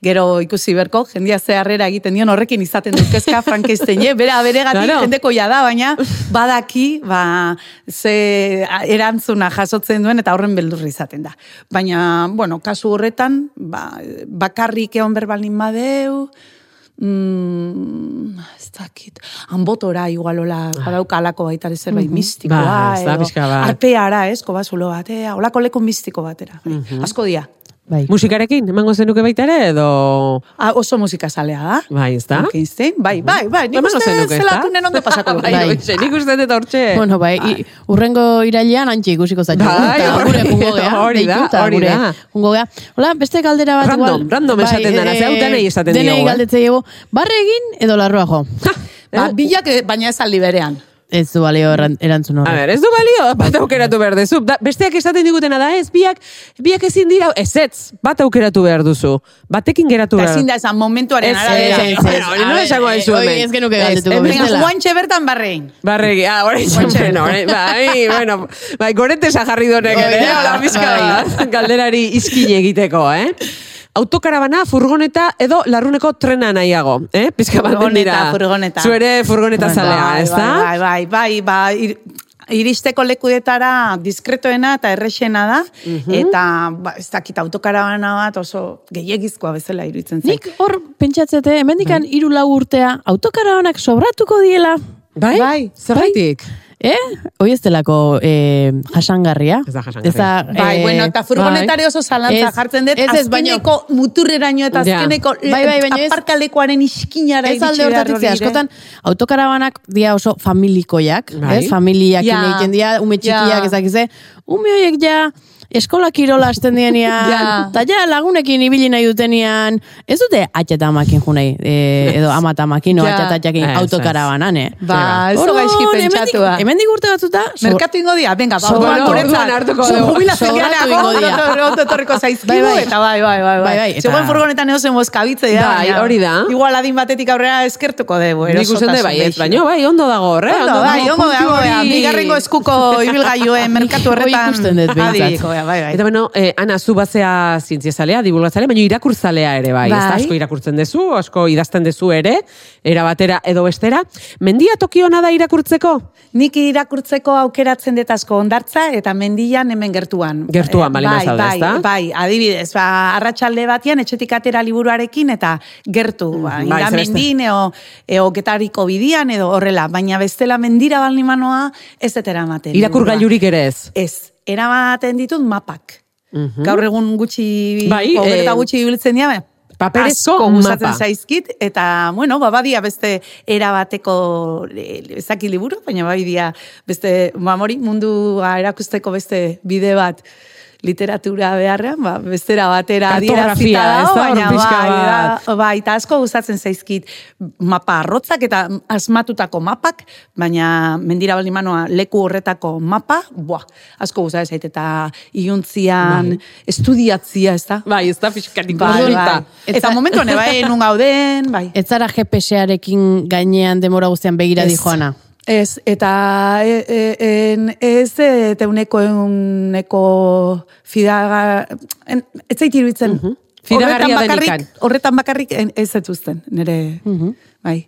Speaker 3: gero ikusi berko, jendia ze harrera egiten dion horrekin izaten dut kezka Frankensteine, bera beregatik
Speaker 2: Claro.
Speaker 3: jendeko ja da, baina badaki, ba, ze a- erantzuna jasotzen duen eta horren beldurri izaten da. Baina, bueno, kasu horretan, ba, bakarrik egon berbalin badeu, mm, ez dakit, hanbotora igualola, badaukalako baita ere zerbait mistikoa,
Speaker 2: Ba, ez da,
Speaker 3: edo
Speaker 2: pixka bat.
Speaker 3: arpeara, ez, kobazulo batea, olako leku mistiko batera. bai.
Speaker 2: Mhm.
Speaker 3: Asko dira.
Speaker 1: Bai.
Speaker 2: Musikarekin, emango zenuke baita ere edo...
Speaker 3: Ah, oso musikazalea da.
Speaker 2: Bai, ez da? Mhm.
Speaker 3: Frankenstein, bai, bai, bai, nik
Speaker 2: Emango
Speaker 3: uste
Speaker 2: zenuke, ez da?
Speaker 3: zelatunen ondo pasako.
Speaker 2: Bai,
Speaker 1: Bai.
Speaker 2: hoxe, nik uste dut hortxe...
Speaker 1: Bueno, bai, i, urrengo irailean antxe ikusiko zaitu.
Speaker 2: Bai,
Speaker 1: Eta
Speaker 2: hori-
Speaker 1: gure jungo gea.
Speaker 2: hori da,
Speaker 1: deitu eta
Speaker 2: hori
Speaker 1: gure
Speaker 2: da.
Speaker 1: jungo gea. Hola, beste galdera bat.
Speaker 2: Random,
Speaker 1: igual. Bai, eh,
Speaker 2: random esaten dena, ze hau denei esaten
Speaker 1: denei
Speaker 2: diogu, eh?
Speaker 1: galdetzei dugu. Barre egin edo larrua jo.
Speaker 2: ba,
Speaker 3: Ba, bilak, eh, Ba, baina ez aldi berean.
Speaker 1: Ez du balio erran- erantzun
Speaker 2: A
Speaker 1: horrek.
Speaker 2: ber, ez du balio, bat aukeratu behar duzu. Da, besteak esaten digutena da, ez, biak, biak ezin dira, ez ez, bat aukeratu behar duzu. Batekin geratu
Speaker 3: Eta
Speaker 2: behar.
Speaker 3: ezin da esan momentuaren
Speaker 2: Ez,
Speaker 3: arabera.
Speaker 2: ez, ez, ez.
Speaker 1: A
Speaker 2: Hori nola
Speaker 1: ber,
Speaker 2: esango duzu
Speaker 1: eh, hori
Speaker 2: hemen?
Speaker 1: ez genuke
Speaker 2: Ez,
Speaker 1: galdetuko
Speaker 2: hemen
Speaker 3: Venga,
Speaker 1: bestela.
Speaker 3: Juantxe bertan barrein.
Speaker 2: Barregi, ah, orain izan zen, orain, bai, bueno, bai, gorentesa jarri duenek,
Speaker 1: Hori
Speaker 2: ere,
Speaker 1: da,
Speaker 2: hola, pizka
Speaker 1: bai.
Speaker 2: bat, galderari izkin egiteko, eh? Autokarabana, furgoneta edo larruneko trena nahiago, eh? Pizka bat
Speaker 3: Furgoneta,
Speaker 2: dira.
Speaker 3: furgoneta.
Speaker 2: Zuere furgoneta zalea,
Speaker 3: Bai,
Speaker 2: ez da?
Speaker 3: Bai, bai, bai, bai, ir- iristeko lekuetara diskretoena eta errexena da,
Speaker 1: Mhm.
Speaker 3: eta ba, ez dakit autokarabana bat oso gehiagizkoa bezala iruditzen zait.
Speaker 1: Nik hor pentsatzete, hemendikan hiru lau urtea autokarabanak sobratuko diela.
Speaker 2: Bai?
Speaker 3: Bai,
Speaker 2: Zergatik?
Speaker 1: Eh? Hoi ez delako eh, jasangarria.
Speaker 2: Ez da jasangarria.
Speaker 3: Bai,
Speaker 1: eh, bai.
Speaker 3: bueno, eta furgonetari oso zalantza
Speaker 1: Ez,
Speaker 3: jartzen dut,
Speaker 1: ez, ez, baino-
Speaker 3: azkeneko muturreraino eta
Speaker 2: Ja.
Speaker 3: azkeneko eh,
Speaker 1: Bai, bai, baino ez-
Speaker 3: aparkalekuaren iskinara
Speaker 1: Ez alde hortatik
Speaker 3: eh?
Speaker 1: ze, askotan autokarabanak dia oso familikoiak,
Speaker 2: Bai.
Speaker 1: ez? Familiak
Speaker 3: Ja.
Speaker 1: egiten dira, ume txikiak
Speaker 3: Ja.
Speaker 1: ez ezakize. Ume horiek ja eskola kirola hasten dienean,
Speaker 3: Ja.
Speaker 1: eta ja lagunekin ibili nahi dutenean, ez dute atxetamakin junei, e, edo amatamakin, no
Speaker 3: Ja.
Speaker 1: atxatatakin
Speaker 2: Ez, ez.
Speaker 1: autokarabanan, eh?
Speaker 3: Ba, ez
Speaker 1: Orduan,
Speaker 3: gaizki
Speaker 1: hemendik-
Speaker 3: pentsatua.
Speaker 1: Hemendik urte batzuta, so-
Speaker 3: Merkatu ingo dira, venga, ba,
Speaker 1: Sobratu-
Speaker 3: orduan guretzat.
Speaker 2: orduan hartuko dugu.
Speaker 3: Zu Jubilatzen
Speaker 1: Sobratu
Speaker 3: gara,
Speaker 1: ingo dira.
Speaker 3: ondo- ondo etorriko zaizkigu,
Speaker 1: Bai, bai.
Speaker 3: eta bai, bai, bai, bai.
Speaker 1: Bai, bai, eta-
Speaker 3: Zegoen furgonetan edo zen boskabitze, ja,
Speaker 2: Bai,
Speaker 3: baina
Speaker 2: hori da.
Speaker 3: Igual adin batetik aurrera eskertuko dugu,
Speaker 2: Nik uste dut
Speaker 3: erosotasun
Speaker 2: bai, ez,
Speaker 3: gehiago.
Speaker 2: baino, bai, ondo dago, horre?
Speaker 3: Ondo, bai, ondo dago, ea, bigarrengo eskuko ibilgailuen merkatu
Speaker 1: Hori
Speaker 3: horretan.
Speaker 1: ikusten dut behintzat.
Speaker 3: adibideko, ea, bai, bai.
Speaker 2: Eta bueno, eh, Ana, zu bazea zientziazalea, divulgatzalea, baina irakurtzalea ere bai, ez da,
Speaker 1: Bai.
Speaker 2: asko irakurtzen duzu, asko idazten duzu ere, era batera edo bestera. Mendia toki ona da irakurtzeko?
Speaker 3: Nik irakurtzeko aukeratzen dut asko ondartza eta mendian hemen gertuan.
Speaker 2: Gertuan,
Speaker 3: Eh,
Speaker 2: balin
Speaker 3: bai,
Speaker 2: bazaude,
Speaker 3: bai,
Speaker 2: ezta?
Speaker 3: Bai, adibidez, ba, arratsalde batean etxetik atera liburuarekin eta gertu, ba,
Speaker 2: bai,
Speaker 3: inda
Speaker 2: ze beste.
Speaker 3: mendin eo, eo getariko bidian edo horrela, baina bestela mendira balnimanoa ez dut eramaten.
Speaker 2: Irakurgailurik ere ez. Mhm.
Speaker 3: Ez, eramaten ditut mapak. Gaur egun gutxi,
Speaker 2: Bai,
Speaker 3: ogerta
Speaker 2: eh,
Speaker 3: gutxi ibiltzen dira, baina
Speaker 2: Paperezko
Speaker 3: asko gustatzen
Speaker 2: mapa.
Speaker 3: zaizkit, eta, bueno, babadia beste erabateko e, ezaki liburu, baina babadia beste, mamori mundua erakusteko beste bide bat literatura beharrean, ba, bestera batera
Speaker 2: Kartografia,
Speaker 3: adierazita dago,
Speaker 2: ez da, hor
Speaker 3: baina
Speaker 2: pixka
Speaker 3: bai,
Speaker 2: bat.
Speaker 3: da, bai, eta asko gustatzen zaizkit mapa arrotzak eta asmatutako mapak, baina mendira balimanoa leku horretako mapa, boa, asko gustatzen zait, eta iuntzian, estudiatzia, ez da?
Speaker 2: Bai, ez da fiskatik
Speaker 3: Bai, bai. Eta momentu honen, bai, nun gauden, bai.
Speaker 1: Ez zara GPS-arekin gainean demora guztian begira
Speaker 3: Ez.
Speaker 1: dijoana.
Speaker 3: Ez, eta e, e, en, ez e, teuneko euneko fidaga, en, ez zait iruditzen.
Speaker 2: Fidagarria
Speaker 3: horretan bakarrik,
Speaker 2: denikan.
Speaker 3: horretan bakarrik en- ez ez uzten, nire, bai.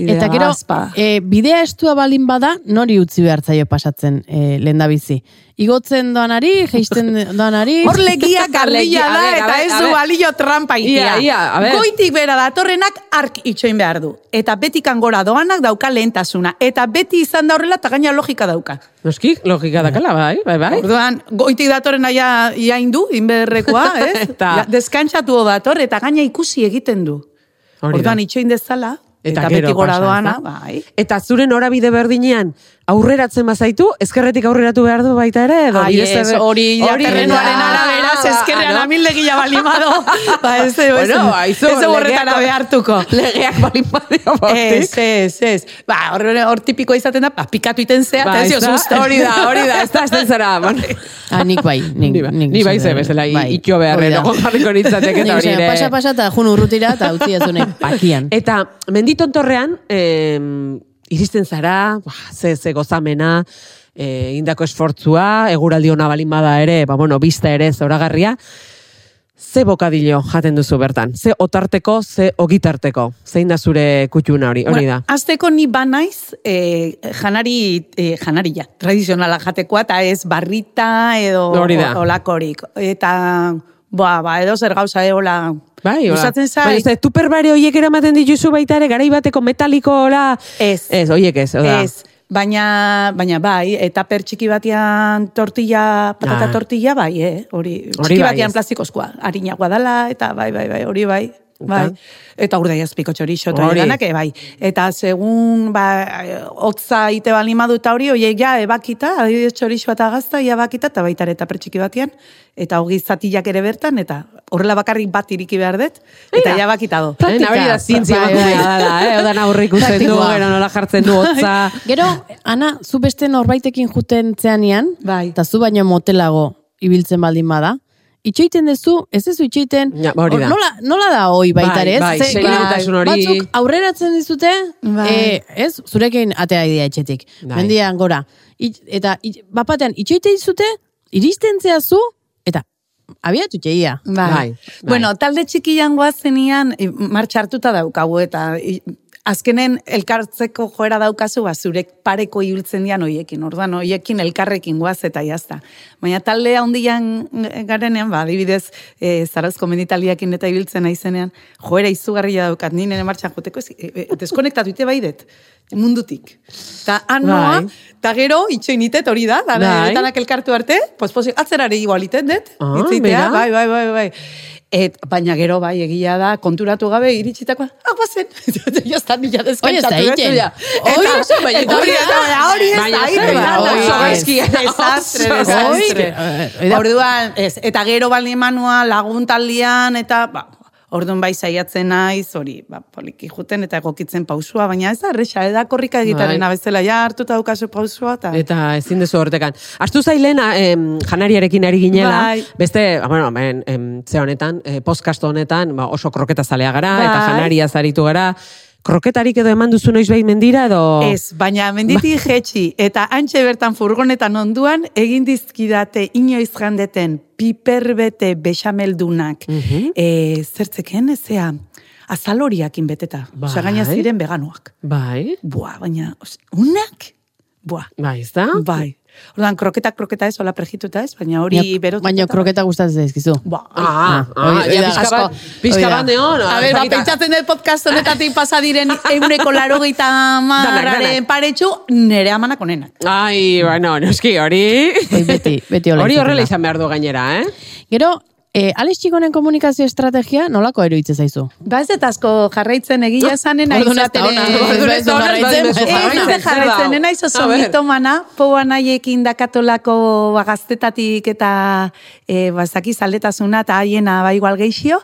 Speaker 3: Bidea
Speaker 1: Eta gero,
Speaker 3: azpa.
Speaker 1: e, bidea estua balin bada, nori utzi behar zaio pasatzen e, lendabizi. Igotzen doanari, geisten doanari...
Speaker 3: Hor legia garbila
Speaker 2: Legia, a
Speaker 3: da
Speaker 2: ber, a
Speaker 3: eta
Speaker 2: ber,
Speaker 3: ez
Speaker 2: a
Speaker 3: du
Speaker 2: ber.
Speaker 3: balio trampa
Speaker 2: Ia,
Speaker 3: itea.
Speaker 2: ia, a ber.
Speaker 3: Goitik bera datorrenak ark itxoin behar du. Eta betikan gora doanak dauka lehentasuna. Eta beti izan da horrela eta gaina logika dauka.
Speaker 2: Noski, logika dakala, bai, bai, bai.
Speaker 3: Orduan, goitik datorren aia iain du, inberrekoa, ez?
Speaker 2: Eta-
Speaker 3: Ja, Deskantsatu dator eta gaina ikusi egiten du.
Speaker 2: Hori da.
Speaker 3: Orduan itxoin dezala. Eta,
Speaker 2: gero
Speaker 3: beti gora
Speaker 2: pasa,
Speaker 3: doana,
Speaker 2: ezta?
Speaker 3: bai.
Speaker 2: Eta zure norabide berdinean aurreratzen bazaitu, ezkerretik aurreratu behar du baita ere, edo
Speaker 3: Ai,
Speaker 2: bide
Speaker 3: ez,
Speaker 2: zer-
Speaker 3: hori ja terrenoaren
Speaker 2: da.
Speaker 3: arabera, ze ezkerrean
Speaker 2: Ah, no?
Speaker 3: amildegia balimado, ba, ez, ez,
Speaker 2: Bueno, aizu,
Speaker 3: ez horretara
Speaker 2: legeak-
Speaker 3: behartuko.
Speaker 2: Legeak balin badio
Speaker 3: Ez, ez, ez. Ba, hor, hor tipikoa izaten da, ba, pikatu iten zea,
Speaker 2: Ba,
Speaker 3: eta ez
Speaker 2: ez da,
Speaker 3: dioz uste.
Speaker 2: hori da, hori da, ez da, ez da zara. Bueno,
Speaker 1: Ah, nik bai. Nik,
Speaker 2: Ni ba- ni bai ze bezala, i- itxo behar,
Speaker 1: hori da.
Speaker 2: edo jarriko nintzateke eta
Speaker 1: Nik
Speaker 2: hori
Speaker 1: esan,
Speaker 2: ere.
Speaker 1: Pasa, pasa, eta jun urrutira, eta utzi ez dunek, pakian.
Speaker 2: Eta menditontorrean, eh, iristen zara, ba, ze, ze gozamena, eh, indako esfortzua, eguraldi ona balin bada ere, ba, bueno, bista ere zoragarria, ze bokadillo jaten duzu bertan? Ze otarteko, ze ogitarteko? Zein da zure kutxuna hori, hori da?
Speaker 3: azteko ni ba naiz eh, janari, eh, janaria, tradizionala jatekoa, eta ez barrita edo
Speaker 2: Hori da.
Speaker 3: o- olakorik. Eta, ba, ba, edo zer gauza, eh, hola,
Speaker 2: Bai, hola.
Speaker 3: gustatzen
Speaker 2: Baina,
Speaker 3: zait.
Speaker 2: ez da, tupperbare horiek eramaten dituzu baita ere, garaibateko metaliko, hola...
Speaker 3: Ez.
Speaker 2: Ez, horiek ez, oda.
Speaker 3: Ez, baina, baina bai, eta per txiki batean tortilla, patata
Speaker 2: Ah.
Speaker 3: tortilla, bai, eh? Hori,
Speaker 2: Hori
Speaker 3: txiki
Speaker 2: bai,
Speaker 3: batean
Speaker 2: ez.
Speaker 3: plastikozkoa, harinagoa dala, eta bai, bai, bai, hori bai. Bai. Eta urdai azpiko txorixo, eta
Speaker 2: Hori.
Speaker 3: danak, eh, bai. Eta segun, ba, eh, hotza ite bali madu eta hori, oie, ja, ebakita, adibidez txorixo eta gazta, ja, bakita, eta baita ere eta pertsiki batean, eta hogi zatilak ere bertan, eta horrela bakarrik bat iriki behar dut, eta ja, bakita do.
Speaker 2: Eh, nabari da zintzi
Speaker 1: Bai,
Speaker 2: emakumea
Speaker 1: bai.
Speaker 2: dala, eh? Odan aurre ikusten du,
Speaker 1: Praktikoa.
Speaker 2: gero nola jartzen du hotza.
Speaker 3: Bai.
Speaker 1: Gero, Ana, zu beste norbaitekin juten zeanean,
Speaker 3: Bai.
Speaker 1: eta zu baino motelago ibiltzen baldin bada, itxeiten dezu, ez ez itxeiten,
Speaker 2: Ja, ba, hori da.
Speaker 1: nola, nola da hoi baita
Speaker 2: Bai,
Speaker 1: ere, ez?
Speaker 2: bai,
Speaker 1: Ze, gero
Speaker 2: segurutasun hori.
Speaker 1: Batzuk aurreratzen dizute,
Speaker 3: Bai.
Speaker 1: eh, ez, zurekin atea idea etxetik,
Speaker 2: Bai.
Speaker 1: mendian gora. Itx- eta, it, bapatean, itxeiten dizute, iristen zeazu, eta abiatu txeia.
Speaker 3: Bai.
Speaker 2: Bai, bai.
Speaker 3: Bueno, talde txikian goazenian, e, martxa hartuta daukagu eta i- azkenen elkartzeko joera daukazu, ba, zurek pareko ibiltzen dian hoiekin, orduan hoiekin elkarrekin goaz eta jazta. Baina talde handian garenean, ba, adibidez, e, zarazko menditaliakin eta ibiltzen aizenean, joera izugarria daukat, ni nire martxan joteko, ez- e, e, deskonektatu ite baidet, mundutik. Eta han noa,
Speaker 2: Bai.
Speaker 3: eta gero, itxoin itet hori da, da
Speaker 2: Bai.
Speaker 3: danak elkartu arte, pospozik, atzerare igualitet, det,
Speaker 2: Ah,
Speaker 3: hitz egitea,
Speaker 2: bera.
Speaker 3: bai, bai, bai, bai. Et, baina gero bai egia da, konturatu gabe iritsitakoa, ah, bazen, jazta nila
Speaker 1: Hori ez da
Speaker 3: deskantzatu.
Speaker 1: egiten.
Speaker 2: Hori oso, baina
Speaker 3: hori ez da, hori ez
Speaker 2: Baina
Speaker 3: da,
Speaker 2: ez da,
Speaker 3: egiten.
Speaker 1: baina
Speaker 3: Baina
Speaker 1: oso
Speaker 2: gaizki,
Speaker 3: desastre,
Speaker 2: oso
Speaker 3: desastre.
Speaker 1: gaizki. Hori da.
Speaker 3: Orduan, ez, eta gero bali emanua lagun taldean, eta, ba, Orduan bai saiatzen naiz, hori, ba, poliki juten eta egokitzen pausua, baina ez da erresa, da korrika egitaren
Speaker 2: Bai.
Speaker 3: bezala ja hartuta daukazu pausua eta
Speaker 2: Eta ezin dezu hortekan. Astu zailena eh, em, janariarekin ari ginela,
Speaker 3: Bai.
Speaker 2: beste, ah, bueno, em, em, ze honetan, eh, podcast honetan, ba, oso kroketa zalea gara,
Speaker 3: Bai.
Speaker 2: eta janaria zaritu gara. Kroketarik edo eman duzu noiz behin mendira edo...
Speaker 3: Ez, baina menditi jetxi eta antxe bertan furgonetan onduan egin dizkidate inoiz jandeten piperbete bexameldunak. e, zertzeken, ezea, azaloriakin beteta.
Speaker 2: Bai.
Speaker 3: Osea, gaina ziren veganoak.
Speaker 2: Bai,
Speaker 3: Bua, baina, os- unak? Bua,
Speaker 2: bai, ez da?
Speaker 3: bai. Ordan kroketa, kroketa ez, hola prejituta ez, baina hori berotuta. bai.
Speaker 1: Baina kroketa gustatzen zaizkizu.
Speaker 3: Bua,
Speaker 2: Ah, ah,
Speaker 1: Hori- hori
Speaker 2: ja,
Speaker 1: da,
Speaker 2: pixka
Speaker 1: asko.
Speaker 2: bat, pizka
Speaker 1: Hori da.
Speaker 2: bat neon.
Speaker 3: A ber, ba,
Speaker 2: ezakita.
Speaker 3: pentsatzen dut podcast honetatik pasa diren euneko laro gehieta
Speaker 2: Danak, danak.
Speaker 3: marraren paretxu, nere amanak onenak.
Speaker 2: Ai, bueno, noski hori...
Speaker 1: Hori beti- beti hola
Speaker 2: Hori
Speaker 1: izaten da.
Speaker 2: horrela izan behar du gainera, eh?
Speaker 1: Gero, e, Alex Txikonen komunikazio estrategia nolako eruditzen zaizu?
Speaker 3: Ba ez dut asko jarraitzen egia esanen
Speaker 1: Orduan ez da
Speaker 3: aizatere.
Speaker 1: ona, orduan ez da ona,
Speaker 2: jarraitzen,
Speaker 3: Ez
Speaker 2: jarraitzen,
Speaker 3: dut jarraitzen,
Speaker 2: zer
Speaker 3: nena
Speaker 2: dago?
Speaker 3: oso
Speaker 2: A ber.
Speaker 3: mitomana, poa nahiekin dakatolako ba, gaztetatik eta e, bazaki zaldetasuna eta haiena ba igual geixio,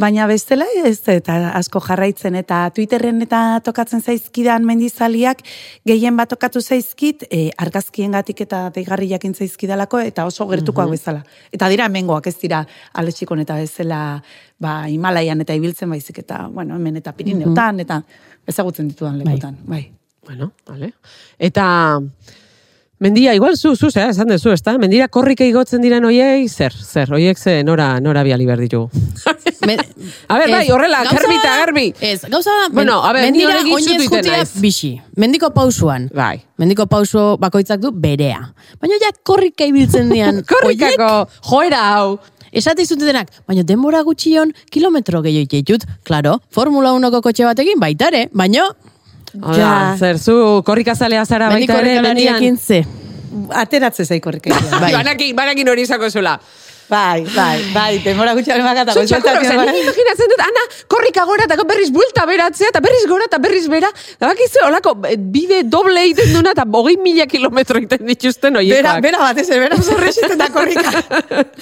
Speaker 3: baina bestela ez eta asko jarraitzen eta Twitterren eta tokatzen zaizkidan mendizaliak gehien bat tokatu zaizkit e, argazkiengatik eta deigarriak zaizkidalako eta oso gertukoak bezala. Eta dira hemengoak ez dira aletxikon eta bezala ba, Himalaian eta ibiltzen baizik eta bueno, hemen eta Pirineutan eta ezagutzen ditudan lekutan. bai.
Speaker 2: Bueno, vale. Eta mendia igual zu, zu, eh, esan dezu, ezta? Mendira korrika igotzen diren hoiei, zer, zer, hoiek ze nora, nora biali behar ditugu.
Speaker 1: Me-
Speaker 2: A ber, bai,
Speaker 1: Ez,
Speaker 2: horrela,
Speaker 1: gauza
Speaker 2: garbi eta
Speaker 1: da-
Speaker 2: garbi.
Speaker 1: Ez, gauza da, men-
Speaker 2: Bueno, a ber, ni
Speaker 1: mendira
Speaker 2: horrekin
Speaker 1: oinez
Speaker 2: zutu iten
Speaker 1: jutea
Speaker 2: naiz.
Speaker 1: bixi. Mendiko pausuan.
Speaker 2: Bai.
Speaker 1: Mendiko pauso bakoitzak du berea. Baina ja korrika ibiltzen dian.
Speaker 2: Korrikako, joera hau.
Speaker 1: Esate izute denak, baina denbora gutxion kilometro gehiago itxeitut. Claro, Formula 1ko kotxe batekin baitare, baina
Speaker 2: Hala,
Speaker 3: Ja.
Speaker 2: zer, zu korrikazalea zara
Speaker 1: mendiko
Speaker 2: baita ere, mendian.
Speaker 1: horrekalariakin ze.
Speaker 3: Ateratze zaiko horreka.
Speaker 1: Bai.
Speaker 2: Banakin, banakin hori izango zula.
Speaker 3: bai, bai, bai, demora gutxiaren bakata.
Speaker 2: Zu txakurra, zen, nire imaginatzen dut, Ana, korrika gora eta berriz buelta beratzea, eta berriz gora eta berriz bera, eta bakizu, olako, eh, bide doble egiten duna, eta hogei mila kilometro egiten dituzten horiekoak.
Speaker 3: Bera, bera batez, ere, bera oso resisten da korrika.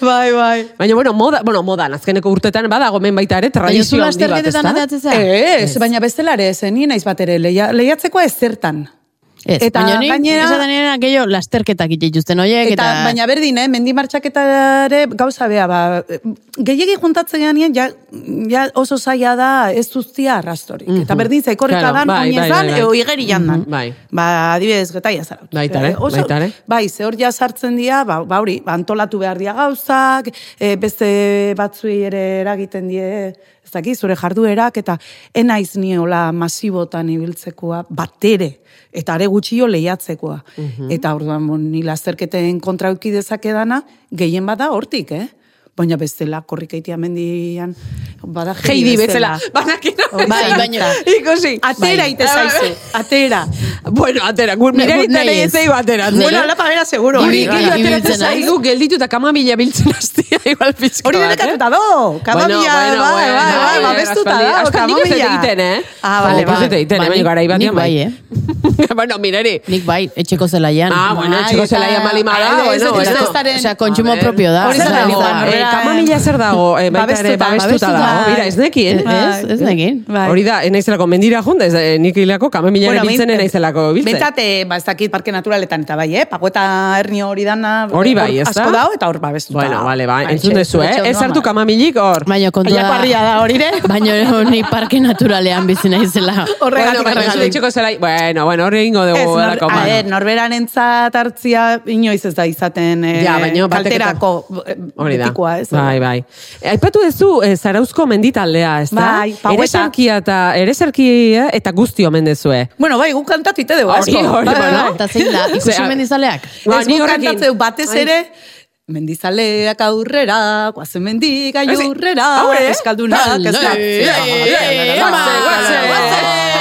Speaker 3: bai, bai.
Speaker 2: Baina, bueno, moda, bueno, modan, azkeneko urtetan badago men baita ere,
Speaker 1: Baina zu
Speaker 2: tradizio handi bat,
Speaker 1: lasterketetan
Speaker 2: ezta?
Speaker 1: ateatzen zea.
Speaker 3: Ez, baina bestelare ez, ni naiz bat ere, leia, lehiatzekoa ez zertan.
Speaker 1: Ez,
Speaker 3: Eta
Speaker 1: baina ni,
Speaker 3: gainera-
Speaker 1: esaten nena, gehiago lasterketak itxeituzten oiek,
Speaker 3: Eta,
Speaker 1: eta...
Speaker 3: baina berdin, eh, mendi martxaketare gauza bea, ba, gehiagi juntatzen ganean, ja, ja oso zaila da ez duztia arrastorik. Eta berdin zaikorrika
Speaker 2: Mhm. Claro,
Speaker 3: dan,
Speaker 2: bai,
Speaker 3: bai,
Speaker 2: bai,
Speaker 3: dan,
Speaker 2: bai, bai.
Speaker 3: eo igeri jandan.
Speaker 2: Mhm, bai.
Speaker 3: Ba, adibidez, getaia zara.
Speaker 2: Baita ere,
Speaker 3: Eh, oso-
Speaker 2: baita ere.
Speaker 3: Bai, ze hor ja sartzen dira, ba, ba hori, ba, antolatu behar dira gauzak, e, beste batzuei ere eragiten die, ez daki, zure jarduerak, eta enaiz niola masibotan ibiltzekoa, batere, eta are gutxio lehiatzekoa. Eta orduan, bon, ni lasterketen kontra eduki dezakedana, gehien bada hortik, eh? baina bestela, korrikaitia mendian, bada
Speaker 2: Heidi bezala, banakina.
Speaker 1: Bai, baina- Bai.
Speaker 2: Ikusi.
Speaker 3: Atera ite zaizu, atera.
Speaker 2: Bueno, atera, gur nire
Speaker 1: gut
Speaker 2: eta
Speaker 1: nahi
Speaker 2: nahi
Speaker 1: ez.
Speaker 2: ez zaigu atera.
Speaker 1: Nire-
Speaker 3: Bueno, alapa bera seguro.
Speaker 1: Guri-
Speaker 2: Guri
Speaker 3: hori,
Speaker 1: bai,
Speaker 2: gehiago
Speaker 1: bai.
Speaker 2: ateratzen
Speaker 1: Ibiltzen naiz.
Speaker 2: zaigu gelditu eta kamamila biltzen hastia igual eh? pizko
Speaker 3: Hori dena katuta do, kamamila,
Speaker 2: bueno,
Speaker 3: bai, bai,
Speaker 2: bueno,
Speaker 3: bai,
Speaker 2: bueno,
Speaker 3: babestuta
Speaker 2: aspaldi-
Speaker 3: da,
Speaker 2: aspaldi ez dut
Speaker 3: kamamila.
Speaker 2: egiten, eh?
Speaker 3: Ah, bale,
Speaker 2: Oh, ez dut
Speaker 3: bale.
Speaker 2: egiten,
Speaker 1: Ba,
Speaker 2: eh, baina
Speaker 1: nik-
Speaker 2: garai
Speaker 1: nik
Speaker 2: batean
Speaker 1: bai, eh?
Speaker 2: bueno, mirari.
Speaker 1: Nik bai, etxeko zelaian.
Speaker 2: Ah, bueno,
Speaker 3: Bai,
Speaker 2: etxeko
Speaker 3: eta-
Speaker 2: zelaian malima da,
Speaker 3: Ah, ez,
Speaker 2: bueno,
Speaker 3: ez, ez,
Speaker 2: bueno.
Speaker 3: ez, ez, ez,
Speaker 1: Osea, kontsumo
Speaker 2: A ver.
Speaker 1: propio da.
Speaker 3: Hori
Speaker 2: Zer
Speaker 1: Zer
Speaker 2: dago?
Speaker 1: dago?
Speaker 2: Eh,
Speaker 3: Horrela-
Speaker 2: kamamila zer dago? Eh, baita ere,
Speaker 3: Babestuta,
Speaker 2: babestuta
Speaker 3: babestuta. Eh,
Speaker 2: dago. Mira, ez nekien. Ah.
Speaker 1: Ez, ez negin.
Speaker 3: Bai.
Speaker 2: Hori da, enaizelako mendira junda, ez da, eh, nik hilako kamamila bueno, biltzen enaizelako biltzen.
Speaker 3: Bentsat, eh, ba, ez dakit parke naturaletan eta bai, eh? Pagoeta hernio hori dana.
Speaker 2: Hori bai,
Speaker 3: hor
Speaker 2: ez da?
Speaker 3: Asko dao eta hor babestuta.
Speaker 2: Bueno, vale, bai,
Speaker 3: Bai,
Speaker 2: entzun
Speaker 3: etxe-
Speaker 2: dezu, eh?
Speaker 3: etxe
Speaker 2: Ez
Speaker 3: ondoan,
Speaker 2: hartu
Speaker 3: bai.
Speaker 2: kamamilik hor.
Speaker 1: Baina kontua
Speaker 3: Aiako harria da hori, ere?
Speaker 1: Baina ni parke naturalean bizi naizela.
Speaker 3: Horregatik,
Speaker 2: bueno, baina zure
Speaker 3: horregatik.
Speaker 2: etxeko zelai, bueno, bueno, hori egingo dugu. eh,
Speaker 3: Ez, nor,
Speaker 2: horrelako,
Speaker 3: a
Speaker 2: bueno.
Speaker 3: ber, norberan entzat hartzia inoiz ez da izaten eh,
Speaker 2: Ja, baina batek eta-
Speaker 3: kalterako eh,
Speaker 2: Hori da.
Speaker 3: betikoa, ez?
Speaker 2: Bai, bai. E, Aipatu ez du e, Zarauzko menditaldea, ez da?
Speaker 3: Bai, Pagueta.
Speaker 2: Ereserkia eta ereserkia eta guzti omen dezue.
Speaker 3: Bueno, bai, guk kantatu ite dugu
Speaker 2: Hori,
Speaker 3: asko.
Speaker 2: hori,
Speaker 3: Bai,
Speaker 2: bueno.
Speaker 3: bai.
Speaker 1: Eta zein da, ikusi
Speaker 2: Zea-
Speaker 1: mendizaleak.
Speaker 2: Ba,
Speaker 3: Ez
Speaker 2: ni
Speaker 3: guk
Speaker 2: horrekin.
Speaker 3: kantatzeu batez
Speaker 2: Ai.
Speaker 3: ere, mendizaleak aurrera, guazen mendik aiurrera,
Speaker 2: Aurre, eh?
Speaker 3: eskaldunak ez da. bai,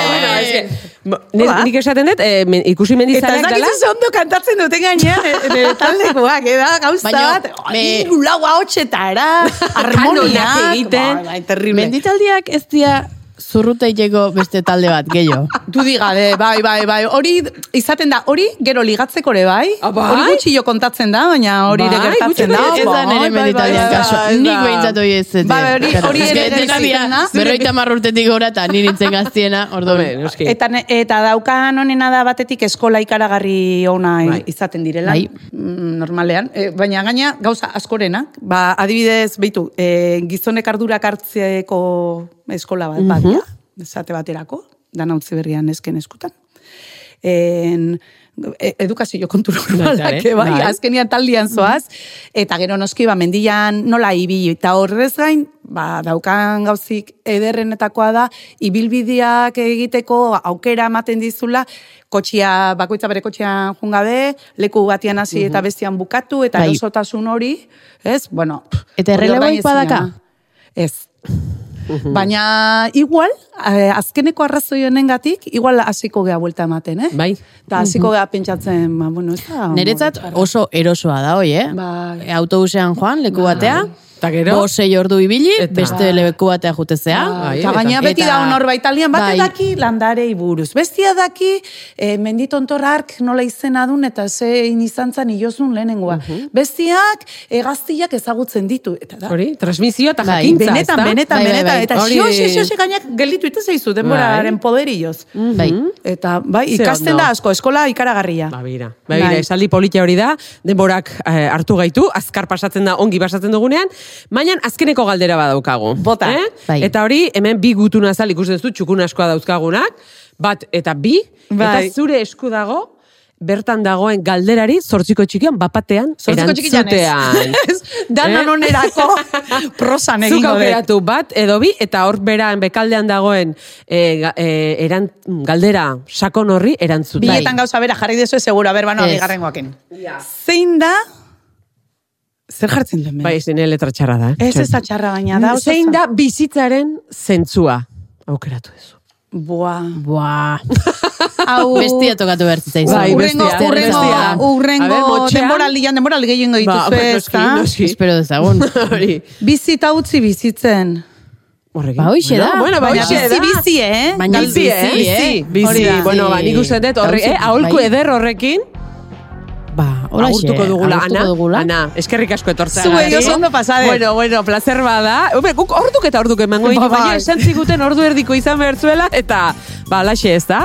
Speaker 2: Bueno, es que, bo, nik-
Speaker 3: Ba.
Speaker 2: Nik esaten dut, eh, men- ikusi
Speaker 3: Eta ez
Speaker 2: mendizaleak dela.
Speaker 3: dakizu ze ondo kantatzen duten gainean, e- nire taldekoak, eda, gauza
Speaker 1: Baina,
Speaker 3: bat,
Speaker 1: me-
Speaker 3: hiru lau ahotsetara, harmoniak,
Speaker 2: Kanonak egiten.
Speaker 3: bai, bai, terrible.
Speaker 1: Menditaldiak ez dira zurruteiteko beste talde bat, gehiago.
Speaker 3: Dudik gabe, bai, bai, bai, hori izaten da, hori gero ligatzeko ere bai,
Speaker 2: Ah, bai?
Speaker 3: hori gutxi jo kontatzen da, baina hori ere
Speaker 2: Bai,
Speaker 3: gertatzen
Speaker 2: gutxi
Speaker 3: da.
Speaker 2: hori
Speaker 1: Ez da
Speaker 3: bai,
Speaker 1: nire
Speaker 3: bai, bai,
Speaker 1: menditaldian
Speaker 3: bai, bai,
Speaker 1: kasua.
Speaker 3: bai,
Speaker 1: Nik
Speaker 3: bai.
Speaker 1: behintzat hoi ez ez.
Speaker 3: Bai, hori- hori ere
Speaker 1: Ez dena
Speaker 3: existitzen
Speaker 1: dira,
Speaker 3: da.
Speaker 1: berrogeita marrurtetik gora eta nire nintzen gaztiena, ordo.
Speaker 2: Hombre, noski.
Speaker 3: Eta, ne- eta daukan honena da batetik eskola ikaragarri ona i-
Speaker 2: Bai.
Speaker 3: izaten direla,
Speaker 1: Bai.
Speaker 3: mm, normalean. E, baina gaina gauza askorenak, ba, adibidez, beitu, e, gizonek ardurak hartzeko eskola
Speaker 2: Mhm.
Speaker 3: bat bat, dira, esate baterako, dana utzi berrian esken eskutan. En, e- edukazio kontura normalak,
Speaker 2: eh?
Speaker 3: eh, bai,
Speaker 2: Bai.
Speaker 3: azkenian taldian
Speaker 1: Mm-hmm.
Speaker 3: zoaz, eta gero noski, ba, mendian nola ibili, eta horrez gain, ba, daukan gauzik ederrenetakoa da, ibilbideak egiteko aukera ematen dizula, kotxia, bakoitza bere kotxean jungabe, leku batian hasi eta bestian bukatu, eta
Speaker 1: Mm-hmm. Bai.
Speaker 3: erosotasun hori, ez, bueno... pff,
Speaker 1: Eta
Speaker 3: hori
Speaker 1: erreleboik
Speaker 3: ordainezina
Speaker 1: badaka? Mm-hmm.
Speaker 3: da. Ez. Baina, igual, eh, azkeneko arrazoi honengatik, igual hasiko gea buelta ematen, eh?
Speaker 2: Bai.
Speaker 3: Eta hasiko
Speaker 1: Mm-hmm.
Speaker 3: gea pentsatzen, ba, bueno, ez da...
Speaker 1: Neretzat oso erosoa da, hoi, eh?
Speaker 3: Bai.
Speaker 1: Autobusean joan, leku batea,
Speaker 2: Eta gero?
Speaker 1: bosei ordu ibili,
Speaker 2: Eta-
Speaker 1: beste leku batea jutezea.
Speaker 2: Bai,
Speaker 3: Ah, eta gaina
Speaker 1: eta-
Speaker 3: beti da norbait aldean bat
Speaker 1: Bai.
Speaker 3: daki landarei buruz. Bestia daki eh, menditontorark nola izena dun eta zein izan zan ilozun lehenengoa. Bestiak hegaztiak ezagutzen ditu. Eta da,
Speaker 2: Mhm. Hori, transmisio eta
Speaker 1: Bai.
Speaker 2: jakintza, ez
Speaker 3: benetan,
Speaker 2: da?
Speaker 3: benetan,
Speaker 1: Bai, bai,
Speaker 3: benetan.
Speaker 1: bai.
Speaker 3: Eta
Speaker 2: Hori-
Speaker 3: xioxe, xioxe gainak gelditu ite zaizu denboraren
Speaker 2: Bai.
Speaker 3: poderioz.
Speaker 1: Bai.
Speaker 3: Eta bai,
Speaker 2: Ze
Speaker 3: ikasten
Speaker 2: ondo.
Speaker 3: da asko, eskola ikaragarria.
Speaker 2: Ba, bira. Ba, bira,
Speaker 3: Bai.
Speaker 2: esaldi polita hori da, denborak eh, hartu gaitu, azkar pasatzen da, ongi pasatzen dugunean, baina azkeneko galdera badaukagu.
Speaker 3: Bota.
Speaker 2: Eh?
Speaker 1: Bai.
Speaker 2: Eta hori, hemen bi gutun azal ikusten zu, txukun askoa dauzkagunak, bat eta bi,
Speaker 3: Bai.
Speaker 2: eta zure esku dago, bertan dagoen galderari, zortziko txikian, bapatean,
Speaker 3: Zortziko txikian ez.
Speaker 2: erantzutean.
Speaker 3: Ez, Danan
Speaker 2: Eh?
Speaker 3: onerako prosan
Speaker 2: Zuk
Speaker 3: egingo dut.
Speaker 2: aukeratu bat edo bi, eta hor beran bekaldean dagoen e, ga- e, eran, galdera sakon horri erantzuten.
Speaker 3: Biletan gauza bera jarri dezu seguro, aber bano,
Speaker 1: Ez.
Speaker 3: bigarrengoaken. Zein da, zer jartzen duen?
Speaker 2: Bai, zine letra txarra da. eh?
Speaker 3: Ez ez da txarra baina da. oso
Speaker 2: Zein
Speaker 3: za-
Speaker 2: da bizitzaren zentzua aukeratu duzu.
Speaker 3: Boa.
Speaker 1: Buah.
Speaker 3: Hau...
Speaker 1: Bestia tokatu behar zitzaizu.
Speaker 2: Bai,
Speaker 3: Urrengo,
Speaker 2: bestia,
Speaker 3: urrengo,
Speaker 2: bestia. Ba, A
Speaker 3: urrengo,
Speaker 2: ver, motxean.
Speaker 3: denboraldian, denboraldi gehiengo
Speaker 2: Ba,
Speaker 3: dituzue,
Speaker 2: noski,
Speaker 3: ezta?
Speaker 2: noski.
Speaker 1: Espero dezagun.
Speaker 2: Hori.
Speaker 3: Bizita utzi bizitzen.
Speaker 2: Horrekin.
Speaker 1: Ba, hoxe da.
Speaker 2: Bueno, bueno, ba,
Speaker 3: Baina
Speaker 2: hoxe
Speaker 3: bizi,
Speaker 2: da.
Speaker 3: bizi, eh?
Speaker 1: Baina
Speaker 2: Bizi,
Speaker 1: bizi,
Speaker 2: eh?
Speaker 1: eh?
Speaker 2: Bizi,
Speaker 1: Hori da.
Speaker 2: bueno, ba, nik uste dut, horre,
Speaker 1: Gauza-
Speaker 2: eh, aholku
Speaker 1: bai.
Speaker 2: eder horrekin,
Speaker 1: Ba, hola
Speaker 2: agurtuko dugula, Ana,
Speaker 1: dugula.
Speaker 2: Ana, eskerrik asko etortzea.
Speaker 3: Zuei oso ondo pasade.
Speaker 2: Bueno, bueno, placer bada. Hombre, guk orduk eta orduk emango ditu,
Speaker 3: Ba, bai.
Speaker 2: baina esan ziguten ordu erdiko izan behar zuela, eta, ba, laxe ez da.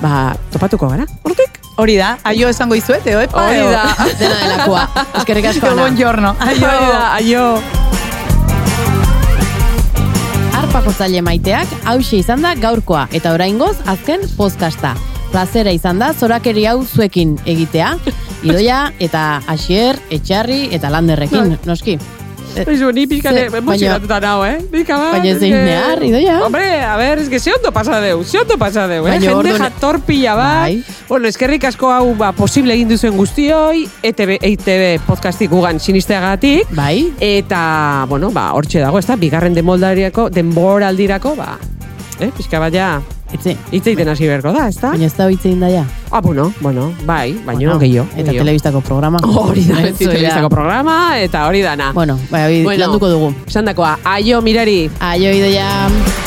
Speaker 2: Ba, topatuko gara,
Speaker 3: bai,
Speaker 2: orduk?
Speaker 3: Hori da, aio esango izuet, eo, epa,
Speaker 2: Hori
Speaker 3: eo.
Speaker 2: da.
Speaker 1: Dena delakoa. Eskerrik asko, Ana.
Speaker 3: Egon jorno. Aio.
Speaker 2: Hori da, aio.
Speaker 1: Arpako zaile maiteak hause izan da gaurkoa eta oraingoz azken podcasta. Plazera izan da zorakeri hau zuekin
Speaker 2: Bai.
Speaker 1: egitea, Idoia eta Asier, Etxarri eta Landerrekin, noski.
Speaker 2: Izu, Bai, ni pixkane,
Speaker 1: Ze-
Speaker 2: emozionatuta nau, eh? Pika bat.
Speaker 1: Baina ez zein
Speaker 2: eske-
Speaker 1: behar, idoia.
Speaker 2: Hombre, a ber, eske ze ondo pasa deu, ze ondo pasa deu, eh?
Speaker 1: Baina
Speaker 2: Jende
Speaker 1: orduan-
Speaker 2: jator pila bat.
Speaker 1: Bai.
Speaker 2: Bueno, eskerrik asko hau, ba, posible egin duzuen E guztioi, ETB, EITB podcastik gugan sinisteagatik.
Speaker 1: Bai.
Speaker 2: Eta, bueno, ba, hortxe dago, ez da, bigarren denboldariako, denboraldirako, ba, eh, pixka bat ja,
Speaker 1: Etxe.
Speaker 2: hitz egiten hasi beharko da, ez da?
Speaker 1: Baina ez da hitzein daia.
Speaker 2: Ah, bueno, bueno, bai, baino
Speaker 1: Bueno,
Speaker 2: gehiago.
Speaker 1: Eta
Speaker 2: gehiago.
Speaker 1: telebistako programa.
Speaker 2: Hori da, beti
Speaker 1: Entzulea.
Speaker 2: telebistako programa, eta hori dana.
Speaker 1: Bueno, bai, landuko dugu.
Speaker 2: Esan dakoa, aio mirari.
Speaker 1: Aio idoia.